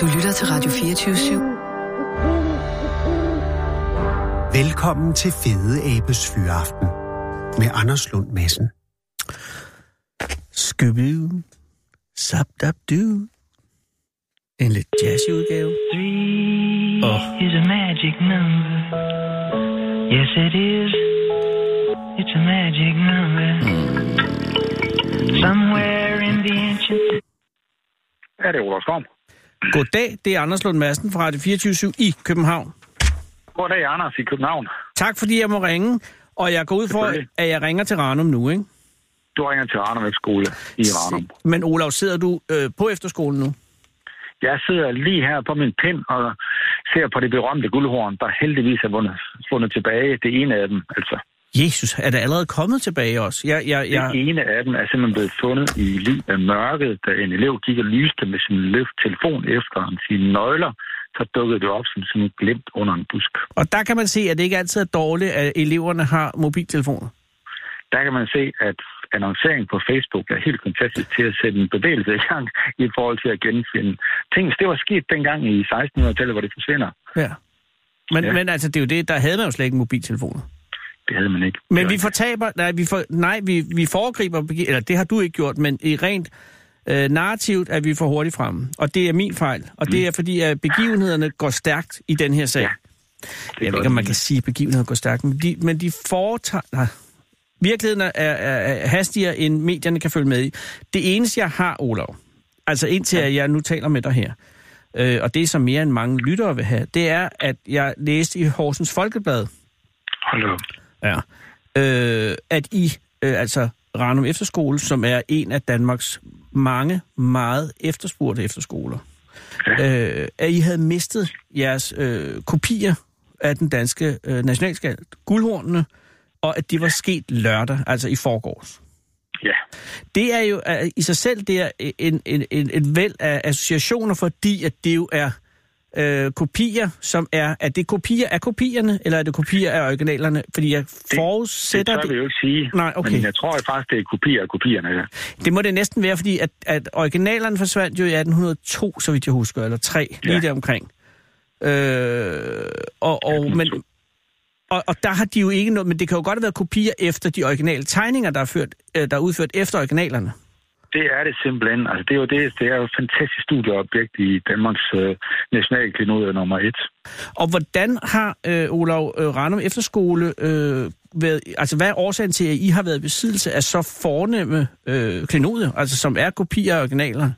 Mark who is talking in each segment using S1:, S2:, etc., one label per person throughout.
S1: Du lytter til Radio 24-7.
S2: Velkommen til Fede Abes Fyraften med Anders Lund Madsen.
S3: Skubby, sap dap du. En lidt jazzy udgave.
S4: Three
S3: Oh.
S4: is a magic number. Yes, it is. It's a magic number. Somewhere in the ancient.
S5: Ja, det er Ola Storm.
S3: Goddag, det er Anders Lund Madsen fra Radio 24 i København.
S5: Goddag, Anders i København.
S3: Tak fordi jeg må ringe, og jeg går ud for,
S5: Selvfølgelig.
S3: at jeg ringer til Ranum nu, ikke?
S5: Du ringer til Ranum skole i Ranum.
S3: Men Olav, sidder du øh, på efterskolen nu?
S5: Jeg sidder lige her på min pind og ser på det berømte guldhorn, der heldigvis er vundet, fundet tilbage. Det ene af dem, altså.
S3: Jesus, er det allerede kommet tilbage også? Jeg, jeg,
S5: Ja.
S3: jeg,
S5: Det ene af dem er simpelthen blevet fundet i ly af mørket, da en elev gik og lyste med sin løft telefon efter han sine nøgler. Så dukkede det op som sådan et glimt under en busk.
S3: og der kan man se, at det ikke altid er dårligt, at eleverne har mobiltelefoner.
S5: Der kan man se, at annoncering på Facebook er helt fantastisk til at sætte en bevægelse i gang i forhold til at genfinde ting. Hvis Det var sket dengang i 1600-tallet, hvor det forsvinder.
S3: Ja. Men, ja.
S5: Ja.
S3: men altså, det er jo det, der havde man jo slet ikke mobiltelefoner.
S5: Det havde man ikke.
S3: Men vi fortaber, nej, vi, for, nej, vi, vi foregriber, begi- eller det har du ikke gjort, men i rent øh, narrativt er vi for hurtigt fremme. Og det er min fejl. Og
S5: Mm.
S3: det er fordi, at begivenhederne går stærkt i den her sag. Ja, jeg ved
S5: gør
S3: ikke, om man
S5: de.
S3: kan sige, at begivenhederne går stærkt, men de, men de foretager... Nej. Virkeligheden er, er, er hastigere, end medierne kan følge med i. Det eneste, jeg har, Olav, altså indtil ja. jeg nu taler med dig her, øh, og det er så mere end mange lyttere vil have, det er, at jeg læste i Horsens Folkeblad,
S5: Hold da op.
S3: Ja. Øh, at I, øh, altså Ranum Efterskole, som er en af Danmarks mange, meget efterspurgte efterskoler, ja. øh, at I havde mistet jeres øh, kopier af den danske øh, nationalskald, guldhornene, og at det var sket lørdag, altså i forgårs.
S5: Ja,
S3: Det er jo øh, i sig selv det er en, en, en, en væld af associationer, fordi at det jo er øh, kopier, som er... Er det kopier af kopierne, eller er det kopier af originalerne? Fordi jeg
S5: det
S3: forudsætter...
S5: tør vi jo ikke sige.
S3: Nej, okay.
S5: Men jeg tror faktisk, det er kopier af kopierne. Ja.
S3: Det må det næsten være, fordi at, at originalerne forsvandt jo i 1802, så vidt jeg husker, eller 3, ja. lige
S5: Ja.
S3: deromkring. Øh, og, og, men, og, og der har de jo ikke noget, men det kan jo godt have været kopier efter de originale tegninger, der er, ført, øh, der er udført efter originalerne.
S5: Det er det simpelthen. Altså, det er jo det, det er jo et fantastisk studieobjekt i Danmarks øh, nationalklinode nummer et.
S3: Og hvordan har øh, Olav øh, Ranum Efterskole øh, været, altså hvad er årsagen til, at I har været i besiddelse af så fornemme øh, klenodier, altså som er kopier af originalerne?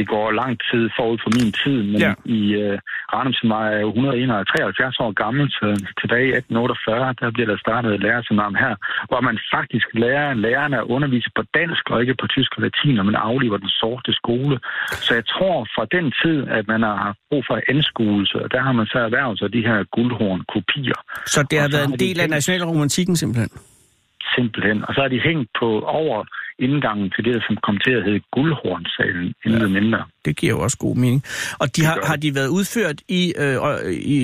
S5: Det går lang tid forud for min tid, men
S3: Ja.
S5: ja. i øh, Ranumsen var jeg jo 171 år gammel, så tilbage i 1848, der bliver der startet et lærerseminarium her, hvor man faktisk lærer lærerne at undervise på dansk, og ikke på tysk og latin, og man afliver den sorte skole. Så jeg tror fra den tid, at man har haft brug for anskuelse, og der har man så erhvervet sig de her guldhorn-kopier.
S3: Så det
S5: Og
S3: har
S5: så
S3: været
S5: har
S3: en
S5: de
S3: del af
S5: hængt-
S3: nationalromantikken simpelthen?
S5: Simpelthen. Og så har de hængt på over indgangen til det, som kom til at hedde Guldhornsalen, intet ja. mindre.
S3: Det giver jo også god mening. Og de har,
S5: gør
S3: har de været udført i, øh, og- i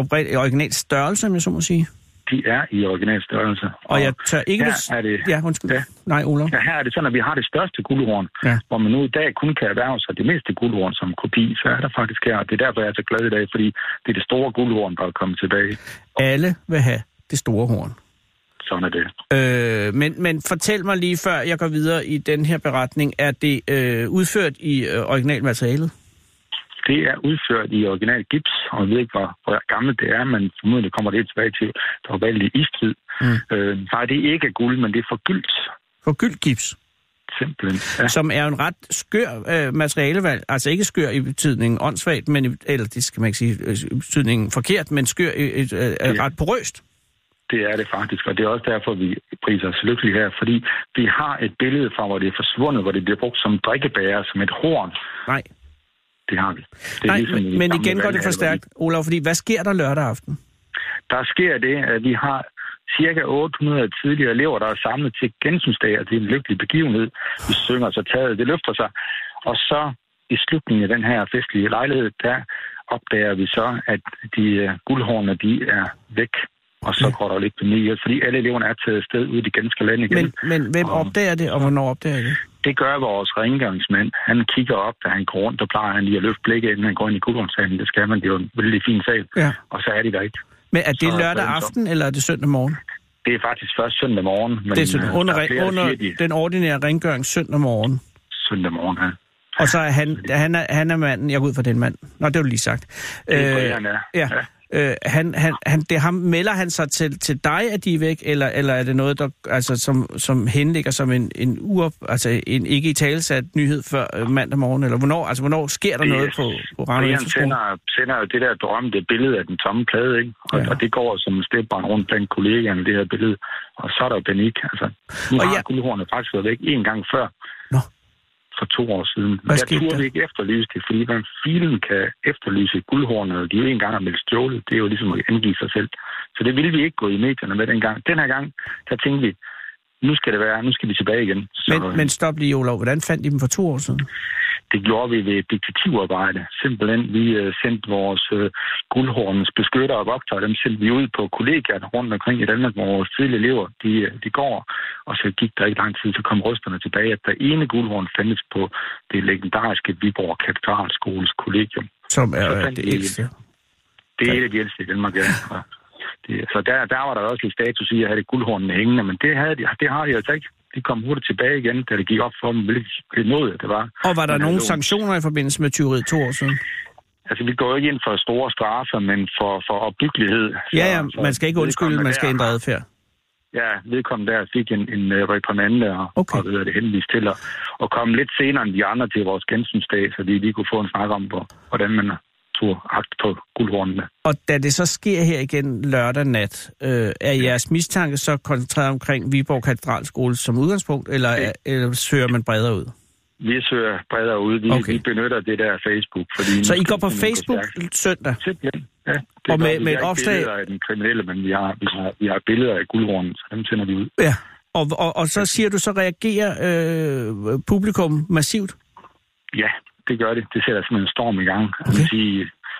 S3: opre- original størrelse, om jeg så må sige?
S5: De er i original størrelse.
S3: Og jeg tør ikke...
S5: her
S3: hvis-
S5: er det-
S3: Ja, undskyld. Ja.
S5: Ja.
S3: Nej, Olav.
S5: Ja, her er det sådan, at vi har det største guldhorn,
S3: Ja.
S5: ja. hvor man nu i dag kun kan erhverve sig det mindste guldhorn som kopi, så er der faktisk her. Det er derfor, jeg er så glad i dag, fordi det er det store guldhorn, der er kommet tilbage.
S3: Alle vil have det store horn.
S5: Sådan er det.
S3: Øh, men, men fortæl mig lige, før jeg går videre i den her beretning, er det øh, udført i øh, originalmaterialet?
S5: Det er udført i original gips, og jeg ved ikke, hvor, hvor gammelt det er, men formodentlig kommer det tilbage til den oprindelige istid.
S3: Mm.
S5: Mm. Øh, nej, det er ikke guld, men det er forgyldt,
S3: For gyldgips,
S5: simpelthen. Ja.
S3: ja. som er jo en ret skør øh, materialevalg. Altså ikke skør i betydningen åndssvagt, men i, eller det skal man ikke sige øh, i betydningen forkert, men skør i, i, øh, er
S5: Ja.
S3: ret porøst.
S5: Det er det faktisk, og det er også derfor, vi priser os lykkelige her, fordi vi har et billede fra, hvor det er forsvundet, hvor det bliver brugt som drikkebærer, som et horn.
S3: Nej,
S5: Det har vi. Det er
S3: Nej,
S5: ligesom i
S3: men, men
S5: gamle
S3: igen går det for
S5: valghaller,
S3: stærkt, Olaf, fordi hvad sker der lørdag aften?
S5: der sker det, at vi har cirka 800 tidligere elever, der er samlet til gensynsdag, og det er en lykkelig begivenhed. Vi synger, så taget, det løfter sig. Og så i slutningen af den her festlige lejlighed, der opdager vi så, at de øh, guldhornene, de er væk. Og så ja. går der lidt panik, fordi alle eleverne er taget sted ud i det ganske land igen.
S3: Men, men hvem
S5: Og-
S3: opdager det, og hvornår opdager I det?
S5: Det gør vores rengøringsmand. Han kigger op, da han går rundt, og plejer han lige at løfte blikket, inden han går ind i kulturomsalen. Det skal man, det er jo en vældig fin sal.
S3: Ja.
S5: Og så er de der ikke.
S3: Men er
S5: Så er
S3: det lørdag
S5: sagen så.
S3: aften, eller er det søndag morgen?
S5: Det er faktisk først søndag morgen. Men
S3: det er søndag,
S5: øh,
S3: under,
S5: der er flere,
S3: re-
S5: der
S3: under
S5: siger, de-
S3: den ordinære rengøring søndag morgen.
S5: Søndag morgen, ja.
S3: Og så er han, han, er, han er manden, jeg går ud fra den mand. Nå, det var lige sagt.
S5: Det er øh, han er.
S3: ja. Øh, han, han, han, det er ham, melder han sig til, til dig, at de er væk, eller, eller er det noget, der, altså, som, som henligger som en, en uop, altså en ikke i talesat nyhed før øh, mandag morgen, eller hvornår, altså, hvornår sker der
S5: Det er-
S3: noget på, på Rano
S5: Brian
S3: Efterskole?
S5: sender, sender jo det der drømte billede af den tomme plade, ikke? Og,
S3: Ja.
S5: ja. og det går som en stepbarn rundt blandt kollegaerne, det her billede. Og så er der jo panik. Altså, nu
S3: Og
S5: og har
S3: jeg-
S5: jeg... guldhornet faktisk været væk en gang før.
S3: Nå.
S5: For to år siden.
S3: Hvad
S5: jeg
S3: skete
S5: turde
S3: der?
S5: ikke efterlyse det, fordi man filen kan efterlyse guldhornet, de jo en gang har meldt stjålet. Det er jo ligesom at angive sig selv. Så det ville vi ikke gå i medierne med dengang. Den her gang, der tænkte vi, nu skal det være, nu skal vi tilbage igen. Så,
S3: Men, men stop lige, Olav. Hvordan fandt I dem for to år siden?
S5: det gjorde vi ved detektivarbejde. Simpelthen, vi øh, sendte vores øh, guldhornens beskytter og vogter, dem sendte vi ud på kollegaerne rundt omkring i Danmark, hvor vores tidlige elever, de, øh, de går, og så gik der ikke lang tid, så kom rysterne tilbage, at der ene guldhorn fandtes på det legendariske Viborg Katedralskoles kollegium.
S3: Som
S5: Så
S3: er øh,
S5: fandt
S3: det
S5: vi-
S3: ældste.
S5: Det er et af de ældste i Danmark, ja. Og Det, så der, der var der også lidt status i at have det guldhornene hængende, men det, havde de, det har de altså ikke. De kom hurtigt tilbage igen, da det gik op for dem, hvilket noget det var.
S3: Og var der
S5: Men
S3: nogle
S5: hallo.
S3: sanktioner i forbindelse med tyveriet to år siden?
S5: Altså, vi går jo ikke ind for store straffer, men for, for opbyggelighed. Så-
S3: Ja, ja,
S5: så
S3: man skal ikke undskylde,
S5: vedkommende
S3: man skal
S5: der-
S3: ændre adfærd.
S5: Ja, vedkommende der fik en, en øh, reprimande og,
S3: Okay.
S5: okay. og ved det henvist til at, og komme lidt senere end de andre til vores gensynsdag, så de lige kunne få en snak om, hvor, hvordan man tog agt på guldhornene.
S3: Og da det så sker her igen lørdag nat, øh, er jeres mistanke så koncentreret omkring Viborg Katedralskole som udgangspunkt, eller, er, eller søger man bredere ud?
S5: Vi søger bredere ud. Vi,
S3: Okay.
S5: okay. vi benytter det der Facebook. Fordi
S3: Så
S5: nu
S3: I
S5: skal
S3: går på
S5: det simpelthen gå
S3: Facebook
S5: stærkt.
S3: søndag?
S5: Simpelthen, ja. Det
S3: Og
S5: gør
S3: med-
S5: vi. Vi
S3: med
S5: har
S3: et
S5: ikke
S3: opslag-
S5: billeder af den kriminelle, men vi har, vi har, vi har billeder af guldhornen, så dem sender vi ud.
S3: Ja. Og, og, og så siger du, så reagerer øh, publikum massivt?
S5: Ja, det gør det. Det sætter sådan en storm i gang. Okay. Jeg vil sige,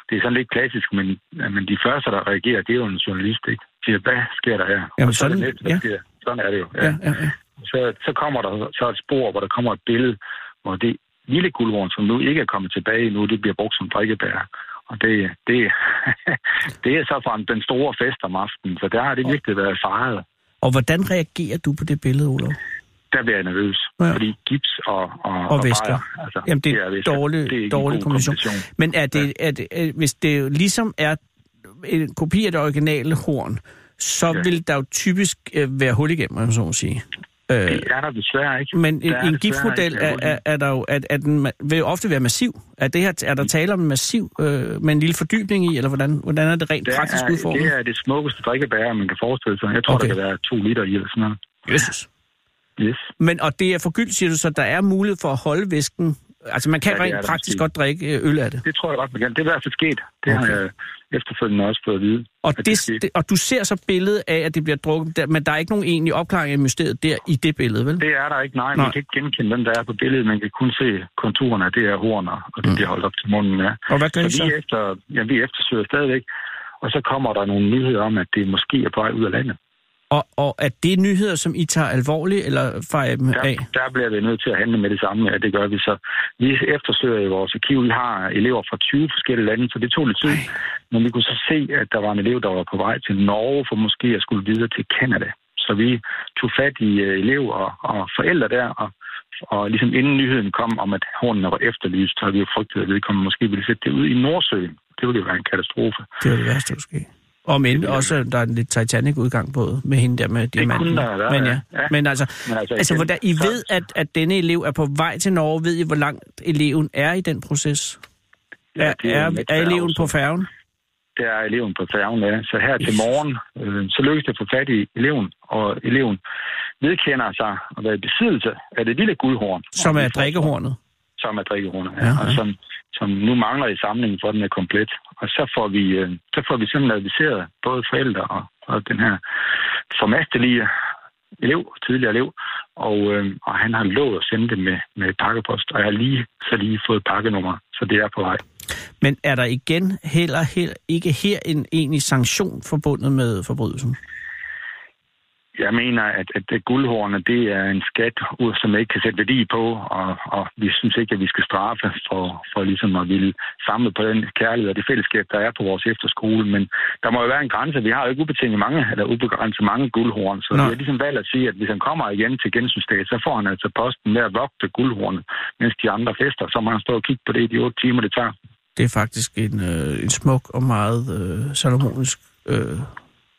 S5: det er sådan lidt klassisk, men, men de første, der reagerer, det er jo en journalist, ikke? De Siger, hvad sker der her?
S3: Jamen,
S5: Og så er det
S3: sådan-
S5: næste, der
S3: ja.
S5: sker. Sådan er det jo.
S3: Ja, ja, ja.
S5: Så, så kommer der så et spor, hvor der kommer et billede, hvor det lille guldhorn, som nu ikke er kommet tilbage nu, det bliver brugt som drikkebær. Og det, det, det er så fra den store fest om aftenen, så der har det virkelig været fejret.
S3: Og hvordan reagerer du på det billede, Olof?
S5: Der bliver jeg nervøs,
S3: Ja.
S5: ja. fordi gips og, og,
S3: Og væsker.
S5: bajer, altså,
S3: Jamen, det er
S5: væsker.
S3: dårlig-
S5: Det er ikke en
S3: dårlig
S5: god
S3: kombination.
S5: kombination.
S3: Men er det, er det, er, hvis det jo ligesom er en kopi af det originale horn, så
S5: Ja.
S3: vil der jo typisk øh, være hul igennem, om jeg så må sige. Øh,
S5: Det er der desværre ikke.
S3: men en,
S5: Der er
S3: en
S5: desværre
S3: giftmodel
S5: ikke
S3: er, er, er der jo, at, at den ma- vil jo ofte være massiv. Er, det her,
S5: Mm.
S3: er der tale om en massiv øh, med en lille fordybning i, eller hvordan, hvordan er det rent
S5: Det
S3: praktisk
S5: er,
S3: udformet?
S5: det er det smukkeste drikkebær, man kan forestille sig. Jeg tror,
S3: Okay.
S5: okay. der kan være to liter i eller sådan noget.
S3: Jesus.
S5: Yes.
S3: Men, og det er forgyldt, siger du, så der er mulighed for at holde væsken. Altså, man kan
S5: Ja,
S3: ja,
S5: det er
S3: rent
S5: der
S3: praktisk
S5: måske.
S3: godt drikke øh, øl af det.
S5: Det tror jeg godt, man kan. Det er i hvert fald sket. Det okay. har
S3: Okay.
S5: jeg efterfølgende også fået at vide.
S3: Og,
S5: at
S3: det,
S5: skete.
S3: det, og du ser så billedet af, at det bliver drukket, der, men der er ikke nogen egentlig opklaring af mysteriet der i det billede, vel?
S5: det er der ikke. Nej,
S3: Nej.
S5: man kan ikke genkende, hvem der er på billedet. Man kan kun se konturerne af det her horn, og og det bliver holdt op til munden. Ja.
S3: Og hvad gør I
S5: Så vi,
S3: Mm. så?
S5: efter, ja, vi eftersøger stadigvæk. Og så kommer der nogle nyheder om, at det måske er på vej ud af landet.
S3: Og, og er det nyheder, som I tager alvorligt, eller fejrer I dem af?
S5: Der, der bliver vi nødt til at handle med det samme, ja, det gør vi så. Vi eftersøger i vores arkiv, vi har elever fra 20 forskellige lande, så det tog lidt tid. Men vi kunne så se, at der var en elev, der var på vej til Norge, for måske at skulle videre til Kanada. Så vi tog fat i øh, elever og, og forældre der, og, og ligesom inden nyheden kom om, at hornene var efterlyst, så havde vi jo frygtet, at vedkommende måske ville sætte det ud i Nordsøen. Det ville jo være en katastrofe.
S3: Det var det værste, der skulle ske. Om end også, der er en lidt Titanic-udgang på med hende der med diamanten.
S5: kunne der være,
S3: men
S5: ja.
S3: ja.
S5: Ja.
S3: Men altså,
S5: Men altså,
S3: altså
S5: igen,
S3: hvordan, I
S5: så-
S3: ved, at, at denne elev er på vej til Norge. Ved I, hvor langt eleven er i den proces?
S5: Ja,
S3: Er,
S5: det er jo
S3: er,
S5: en
S3: er eleven
S5: færge,
S3: på
S5: så-
S3: færgen?
S5: der er eleven på færgen. Ja. Så her til morgen, øh, så lykkes det at få fat i eleven, og eleven vedkender sig at være i besiddelse af det lille guldhorn.
S3: Som er drikkehornet?
S5: Som er drikkehornet, ja.
S3: Ja,
S5: ja,
S3: ja.
S5: Og som, som nu mangler i samlingen, for den er komplet. Og så får vi, øh, så får vi simpelthen adviseret både forældre og, og den her formastelige elev, tidligere elev, og, øh, og han har lovet at sende det med, med pakkepost, og jeg har lige så lige fået pakkenummer, så det er på vej.
S3: Men er der igen heller, heller ikke her en egentlig sanktion forbundet med forbrydelsen?
S5: Jeg mener, at, at guldhårene, det er en skat, som man ikke kan sætte værdi på, og, og vi synes ikke, at vi skal straffe for, for ligesom at ville samle på den kærlighed og det fællesskab, der er på vores efterskole. Men der må jo være en grænse. Vi har jo ikke ubetinget mange, eller ubegrænset mange guldhorn, så
S3: Nå.
S5: vi har ligesom valgt at sige, at hvis han kommer igen til gensynsdag, så får han altså posten med at vogte guldhornet, mens de andre fester, så må han stå og kigge på det i de otte timer, det tager.
S3: Det er faktisk en, øh, en smuk og meget øh, salomonisk øh,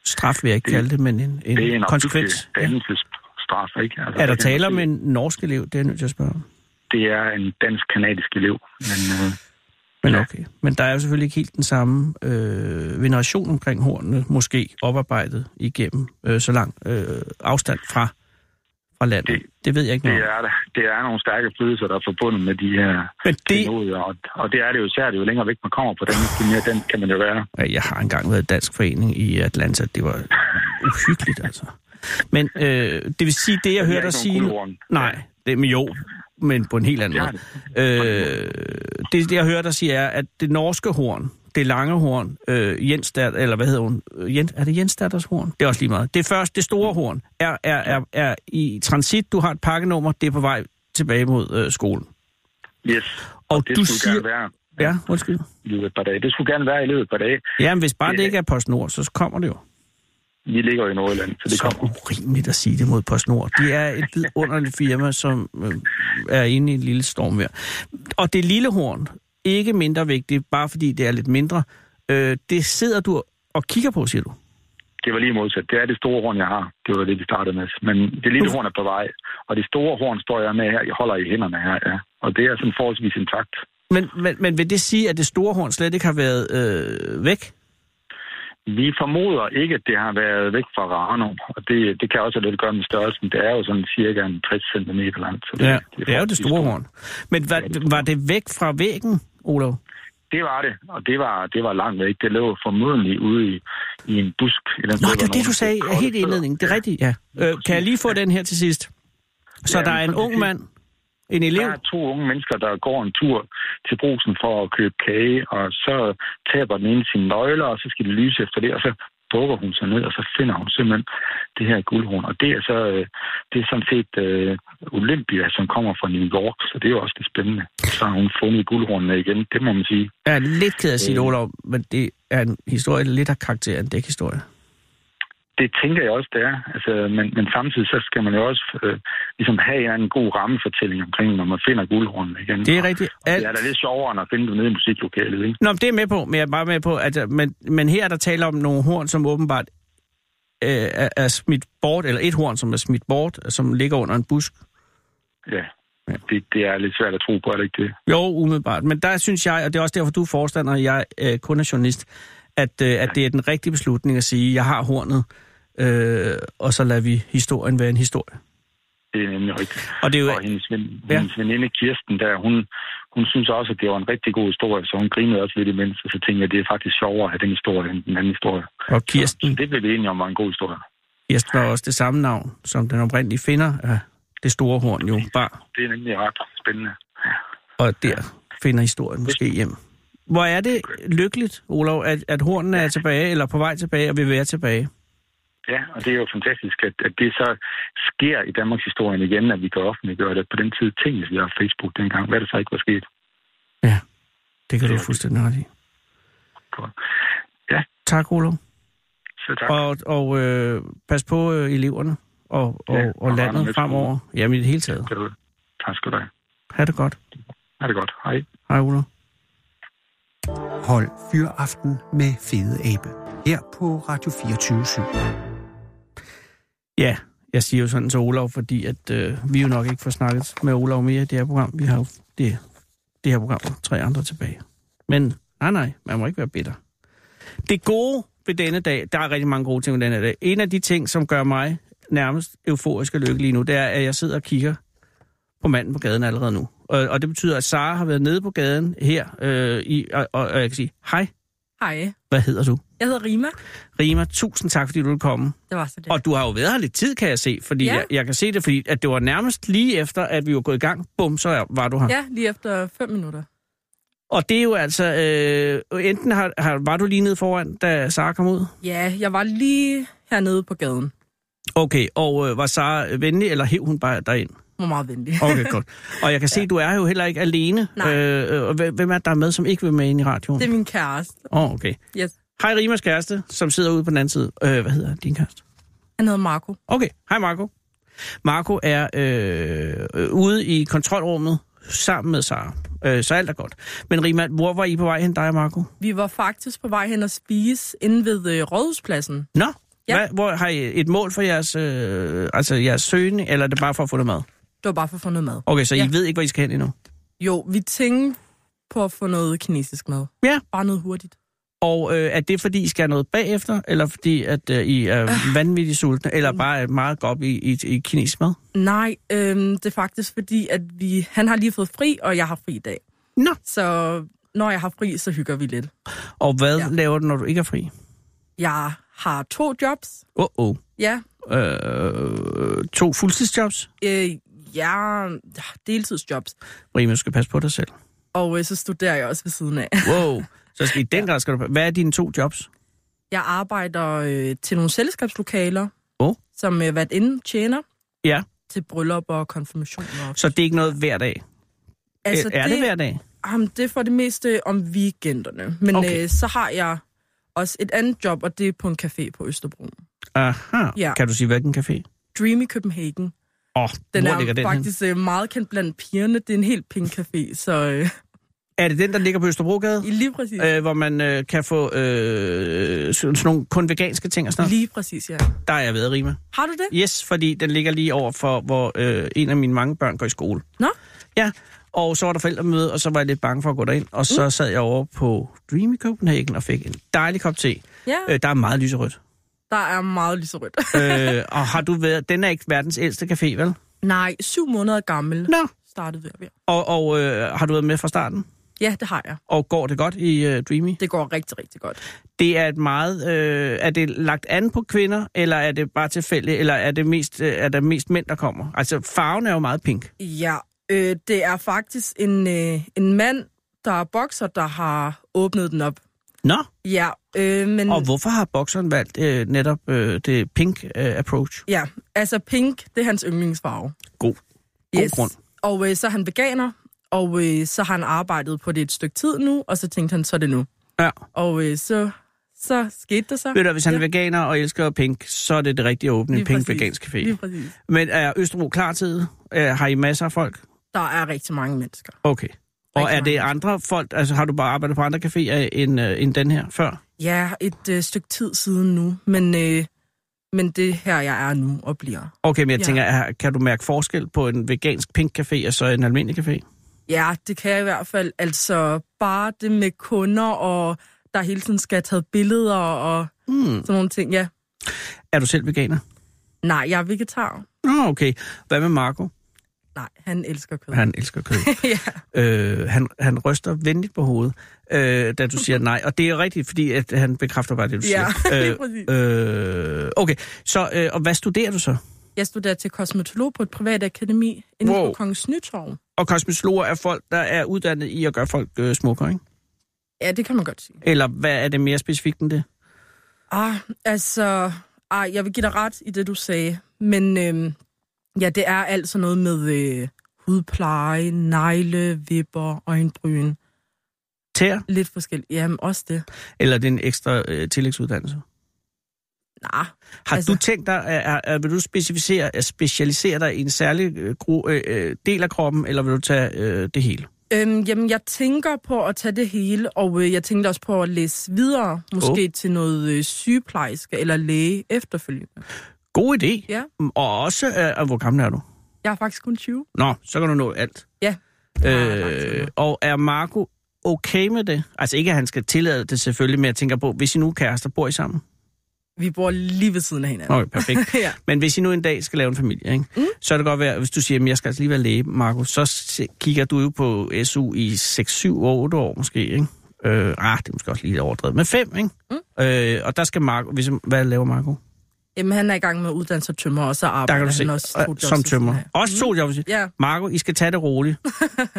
S3: straf, vil jeg ikke kalde det, men en, en,
S5: Det er en
S3: konsekvens.
S5: opbyggelig
S3: Ja.
S5: dannelsesstraf, ikke? Altså,
S3: Er der
S5: kan man
S3: tale om
S5: sige.
S3: en norsk elev? Det er jeg nødt til at spørge om.
S5: det er en dansk-kanadisk elev. Men øh,
S3: Men
S5: Ja.
S3: okay. Men der er jo selvfølgelig ikke helt den samme øh, veneration omkring hornene, måske oparbejdet igennem øh, så lang øh, afstand fra, fra landet. Det,
S5: Det-
S3: det ved jeg ikke
S5: det,
S3: noget om.
S5: er, der- det er nogle stærke følelser, der er forbundet med de her
S3: Men det,
S5: klenodier, og, og det er det jo særligt, jo længere væk man kommer på den, jo mere den kan man jo være.
S3: Ja, Jeg har engang været i dansk forening i Atlanta. Det var uhyggeligt, altså. Men øh, det vil sige, det jeg hører
S5: ikke
S3: dig
S5: nogen
S3: sige...
S5: guldhorn.
S3: Nej, det men jo, men på en helt anden
S5: Det
S3: måde.
S5: har
S3: Øh, det, det, jeg hører dig sige, er, at det norske horn, det lange horn, øh, Jens datter, eller hvad hedder hun? Øh, Jens, er det Jens datters horn? Det er også lige meget. Det første, det store horn, er, er, er, er i transit. Du har et pakkenummer, det er på vej tilbage mod øh, skolen.
S5: Yes,
S3: Og,
S5: det
S3: du
S5: skulle
S3: siger...
S5: gerne være
S3: Ja, undskyld.
S5: i løbet af et par dage. Det skulle gerne være i løbet af et par dage.
S3: Jamen, hvis bare det,
S5: Det-
S3: ikke er PostNord, så kommer det jo.
S5: Vi ligger jo i Nordjylland, så det
S3: så
S5: kommer.
S3: urimeligt at sige det mod PostNord. Det er et vidunderligt firma, som øh, er inde i en lille stormvejr. Og det lille horn, ikke mindre vigtigt, bare fordi det er lidt mindre, øh, det sidder du og kigger på, siger du.
S5: Det var lige modsat. Det er det store horn, jeg har. Det var det, vi startede med. Men det lille horn er på vej, og det store horn står jeg med her. Jeg holder i hænderne her, ja. Og det er sådan forholdsvis intakt.
S3: Men, men, men vil det sige, at det store horn slet ikke har været øh, væk?
S5: Vi formoder ikke, at det har været væk fra Rano, og det, det kan også have lidt at gøre med størrelsen. Det er jo sådan cirka en 60 cm langt. Så
S3: Ja, det er jo det
S5: forholdsvis
S3: store
S5: stort.
S3: horn. Men var, var det væk fra væggen, Olof?
S5: Det var det, og det var, det var langt væk. Det lå formodentlig ude i, i en busk. Eller
S3: Nå, det var det, du sagde helt i indledningen. Det er rigtigt, ja. Øh, kan jeg lige få den her til sidst? Så
S5: Ja,
S3: der
S5: men
S3: er en
S5: sådan
S3: ung
S5: set-
S3: mand, en elev,
S5: Der er to unge mennesker, der går en tur til brusen for at købe kage, og så taber den ene sine nøgler, og så skal de lyse efter det, og så bukker hun sig ned, og så finder hun simpelthen det her guldhorn. Og det er så øh, det er sådan set øh, Olympia, som kommer fra New York, så det er jo også det spændende. Så har hun fundet guldhornene igen, det må man sige.
S3: Jeg er lidt ked af at sige det,
S5: Øh.
S3: Olof, men det er en historie, der lidt har karakter af en dækhistorie.
S5: det tænker jeg også, det er. Altså, men, men samtidig så skal man jo også øh, ligesom have en eller anden god rammefortælling omkring, når man finder guldhornene igen.
S3: Det er rigtigt.
S5: Alt.
S3: Alt...
S5: Det er da lidt sjovere, end at finde dem nede i musiklokalet, ikke?
S3: Nå, men det er jeg med på, men jeg er bare med på, at øh, men, men her er der tale om nogle horn, som åbenbart øh, er, er smidt bort, eller et horn, som er smidt bort, som ligger under en busk.
S5: Ja. Det, det er lidt svært at tro på, er det ikke det?
S3: Jo, umiddelbart. Men der synes jeg, og det er også derfor, du er forstander, og jeg øh, kun er journalist, at, øh, at det er den rigtige beslutning at sige, jeg har hornet, øh, og så lader vi historien være en historie.
S5: Det er nemlig rigtigt.
S3: Og det er jo...
S5: Og hendes, ven,
S3: Ja.
S5: ja. hendes veninde Kirsten der, hun, hun synes også, at det var en rigtig god historie, så hun grinede også lidt imens, og så tænkte jeg, at det er faktisk sjovere at have den historie end den anden historie.
S3: Og
S5: Så
S3: Kirsten,
S5: det blev vi enige om var en god historie.
S3: Jesper var også det samme navn, som den oprindelige finder af det store horn jo bar.
S5: Det er nemlig ret spændende.
S3: Og der finder historien måske hjem. Hvor er det lykkeligt, Olof, at, at hornene er tilbage, eller på vej tilbage, og vil være tilbage?
S5: Ja, og det er jo fantastisk, at, at det så sker i Danmarks historien igen, at vi kan offentliggøre det på den tid. Ting, vi har Facebook dengang, hvad der så ikke var sket.
S3: Ja, det kan du fuldstændig ret i.
S5: Ja.
S3: Tak, Olof.
S5: Så tak.
S3: Og, og øh, pas på øh, eleverne og, og,
S5: Ja,
S3: og
S5: og Randers
S3: landet
S5: Skole.
S3: fremover. Jamen i det hele taget.
S5: Kan du- Tak skal du have.
S3: Ha' det godt.
S5: Ha' det godt. Hej.
S3: Hej, Olof.
S2: Hold Fyraften med Fede Abe. Her på Radio 24 7.
S3: Ja, jeg siger jo sådan til Olav, fordi at, øh, vi jo nok ikke får snakket med Olav mere i det her program. Vi har jo det, det her program og tre andre tilbage. Men nej, nej, man må ikke være bitter. Det gode ved denne dag, der er rigtig mange gode ting ved denne dag. En af de ting, som gør mig nærmest euforisk og lykkelig lige nu, det er, at jeg sidder og kigger på manden på gaden allerede nu. Og, og det betyder, at Sara har været nede på gaden her, øh, i, og, og, og jeg kan sige, hej,
S6: Hej,
S3: hvad hedder du?
S6: jeg hedder Rima.
S3: Rima, tusind tak, fordi du vil komme.
S6: Det var så det.
S3: Og du har jo været her lidt tid, kan jeg se, fordi ja.
S6: Ja.
S3: jeg, jeg kan se det, fordi at det var nærmest lige efter, at vi var gået i gang, bum, så er- var du her.
S6: Ja, lige efter 5 minutter.
S3: Og det er jo altså, øh, enten har, har, var du lige nede foran, da Sara kom ud?
S6: Ja, jeg var lige hernede på gaden.
S3: Okay, og øh, var Sara venlig, eller hæv hun bare derind?
S6: Hun var meget venlig.
S3: Okay, godt. Og jeg kan se, ja. du er jo heller ikke alene.
S6: Nej.
S3: Øh, og hvem hvem er det, der er med, som ikke vil med ind i radioen?
S6: det er min kæreste.
S3: Åh, oh, okay.
S6: Yes.
S3: Hej Rimas kæreste, som sidder ude på den anden side. Øh, hvad hedder din kæreste?
S6: Han hedder Marco.
S3: Okay, hej Marco. Marco er øh, øh, ude i kontrolrummet sammen med Sara. Øh, så alt er godt. Men Rima, hvor var I på vej hen, dig og Marco?
S6: Vi var faktisk på vej hen og spise inde ved øh, Rådhuspladsen.
S3: Nå, ja.
S6: Ja.
S3: hvad, hvor har I et mål for jeres, øh, altså jeres søgen, eller er det bare for at få noget mad?
S6: Det var bare for at få noget mad.
S3: Okay, så ja.
S6: Ja.
S3: I ved ikke, hvor I skal hen endnu?
S6: Jo, vi tænkte på at få noget kinesisk mad.
S3: Ja.
S6: Bare noget hurtigt.
S3: Og øh, er det, fordi I skal have noget bagefter, eller fordi at øh, I er vanvittigt sultne, eller bare er meget godt i, i, i kinesisk mad?
S6: Nej, øhm, det er faktisk fordi, at vi, han har lige fået fri, og jeg har fri i dag.
S3: Nå.
S6: Så når jeg har fri, så hygger vi lidt.
S3: Og hvad ja.
S6: Ja.
S3: laver du, når du ikke er fri?
S6: Jeg har to jobs.
S3: Åh,
S6: Ja,
S3: oh, øh, To fuldtidsjobs?
S6: øh, jeg har deltidsjobs.
S3: Rima, du skal passe på dig selv.
S6: Og øh, så studerer jeg også ved siden af.
S3: Wow. Så skal, i den grad skal du... Hvad er dine to jobs?
S6: Jeg arbejder øh, til nogle selskabslokaler,
S3: Åh.
S6: som øh, hvert inden tjener
S3: Ja.
S6: til bryllup og konfirmationer.
S3: Så det er ikke noget hver dag? Altså, er det, det hver dag?
S6: Jamen, det er for det meste om weekenderne. Men
S3: Okay.
S6: okay. øh, så har jeg også et andet job, og det er på en café på Østerbro.
S3: Aha. Ja.
S6: Ja.
S3: Kan du sige, hvilken café?
S6: Dreamy Copenhagen.
S3: Åh, oh,
S6: Den
S3: hvor
S6: er
S3: ligger den faktisk...
S6: faktisk øh, meget kendt blandt pigerne. Det er en helt pink café, så øh,
S3: Er det den, der ligger på Østerbrogade?
S6: i lige præcis, øh,
S3: Øh, hvor man øh, kan få øh, sådan sådan nogle kun veganske ting og sådan noget.
S6: lige præcis, ja.
S3: Der er jeg ved, Rima.
S6: Har du det?
S3: Yes, fordi den ligger lige over for, hvor øh, en af mine mange børn går i skole.
S6: Nå.
S3: Ja, og så var der forældremøde, og så var jeg lidt bange for at gå derind. Og så sad jeg over på Dreamy Copenhagen og fik en dejlig kop te.
S6: Ja,
S3: Øh, der er meget lyserødt.
S6: der er meget lyserødt.
S3: øh, og har du været... Den er ikke verdens ældste café, vel?
S6: Nej, syv måneder gammel
S3: Nå.
S6: startede vi. ja.
S3: Og, og øh, har du været med fra starten?
S6: Ja, det har jeg.
S3: Og går det godt i øh, Dreamy?
S6: Det går rigtig, rigtig godt.
S3: Det er et meget... Øh, er det lagt an på kvinder, eller er det bare tilfældigt, eller er det mest, øh, er der mest mænd, der kommer? Altså, farven er jo meget pink.
S6: Ja, øh, det er faktisk en, øh, en mand, der er bokser, der har åbnet den op.
S3: Nå,
S6: Ja, øh, men...
S3: Mm. og hvorfor har bokseren valgt øh, netop øh, det pink øh, approach?
S6: Ja, altså pink, det er hans yndlingsfarve.
S3: God. God grund.
S6: Og øh, så er han veganer, og øh, så har han arbejdet på det et stykke tid nu, og så tænkte han, så er det nu.
S3: Ja.
S6: Og øh, så, så skete det så.
S3: Ved du, hvis han er
S6: Ja.
S3: veganer og elsker pink, så er det det rigtige at åbne en
S6: Lige præcis.
S3: pink-vegansk café.
S6: Lige præcis.
S3: Men er Østerbro klar til det? Øh, Har I masser af folk?
S6: Der er rigtig mange mennesker.
S3: Okay. Og
S6: Rigtig
S3: er det
S6: mange.
S3: andre folk, altså har du bare arbejdet på andre caféer end, øh, end den her før?
S6: Ja, et øh, stykke tid siden nu, men, øh, men det er her, jeg er nu og bliver.
S3: Okay, men jeg ja.
S6: Ja.
S3: tænker, er- kan du mærke forskel på en vegansk pink café og så en almindelig café?
S6: Ja, det kan jeg i hvert fald. Altså, bare det med kunder, og der hele tiden skal have taget billeder og
S3: Hmm.
S6: sådan nogle ting. Ja,
S3: Er du selv veganer?
S6: nej, jeg er vegetar.
S3: Nå, okay. Hvad med Marco?
S6: Nej, han elsker kød.
S3: Han elsker kød.
S6: ja.
S3: øh, han, han ryster venligt på hovedet, øh, da du siger nej. Og det er rigtigt, fordi at han bekræfter bare det, du
S6: Ja, lige præcis.
S3: siger. øh, øh, okay, så øh, og hvad studerer du så?
S6: Jeg studerer til kosmetolog på et privat akademi inde
S3: Wow.
S6: på Kongens Nytorv.
S3: Og kosmetologer er folk, der er uddannet i at gøre folk øh, smukkere, ikke?
S6: Ja, det kan man godt sige.
S3: Eller hvad er det mere specifikt end det?
S6: Ah, altså, ah, jeg vil give dig ret i det, du sagde. Men øhm, ja, det er altså noget med øh, hudpleje, negle, vipper, øjenbryn.
S3: Tær?
S6: Lidt forskelligt. Jamen, også det.
S3: Eller er det en ekstra øh, tillægsuddannelse?
S6: Nej,
S3: Har altså,
S6: Altså-
S3: du tænkt dig, er, er, er, vil du specificere, at specialisere dig i en særlig øh, gru, øh, øh, del af kroppen, eller vil du tage øh, det hele?
S6: Øhm, jamen, jeg tænker på at tage det hele, og øh, jeg tænkte også på at læse videre, måske oh. til noget øh, sygeplejerske eller læge efterfølgende.
S3: God idé.
S6: Ja.
S3: Og også, øh, og hvor gammel er du?
S6: Jeg er faktisk kun 20.
S3: Nå, så kan du nå alt.
S6: Ja.
S3: Øh, og er Marco okay med det? Altså ikke, at han skal tillade det selvfølgelig, men jeg tænker på, hvis I nu er kærester, bor I sammen?
S6: Vi bor lige ved siden af hinanden.
S3: Okay, perfekt.
S6: ja.
S3: Men hvis I nu en dag skal lave en familie, ikke? Mm. så er det godt være, hvis du siger, at jeg skal altså lige være læge, Marco, så se- kigger du jo på SU i 6, 7, 8 år måske, ikke? Øh, ah, det er måske også lige lidt overdrevet, men 5, ikke? Mm. Øh, og der skal Marco, hvis, hvad laver Marco?
S6: Jamen, han er i gang med at uddanne sig tømmer, og så
S3: Der
S6: arbejder
S3: kan du
S6: han
S3: se,
S6: også
S3: Øh,
S6: to jobs
S3: som
S6: ved siden
S3: tømmer.
S6: af. Mm.
S3: Også to jobs.
S6: Ja,
S3: Marco, I skal tage det roligt.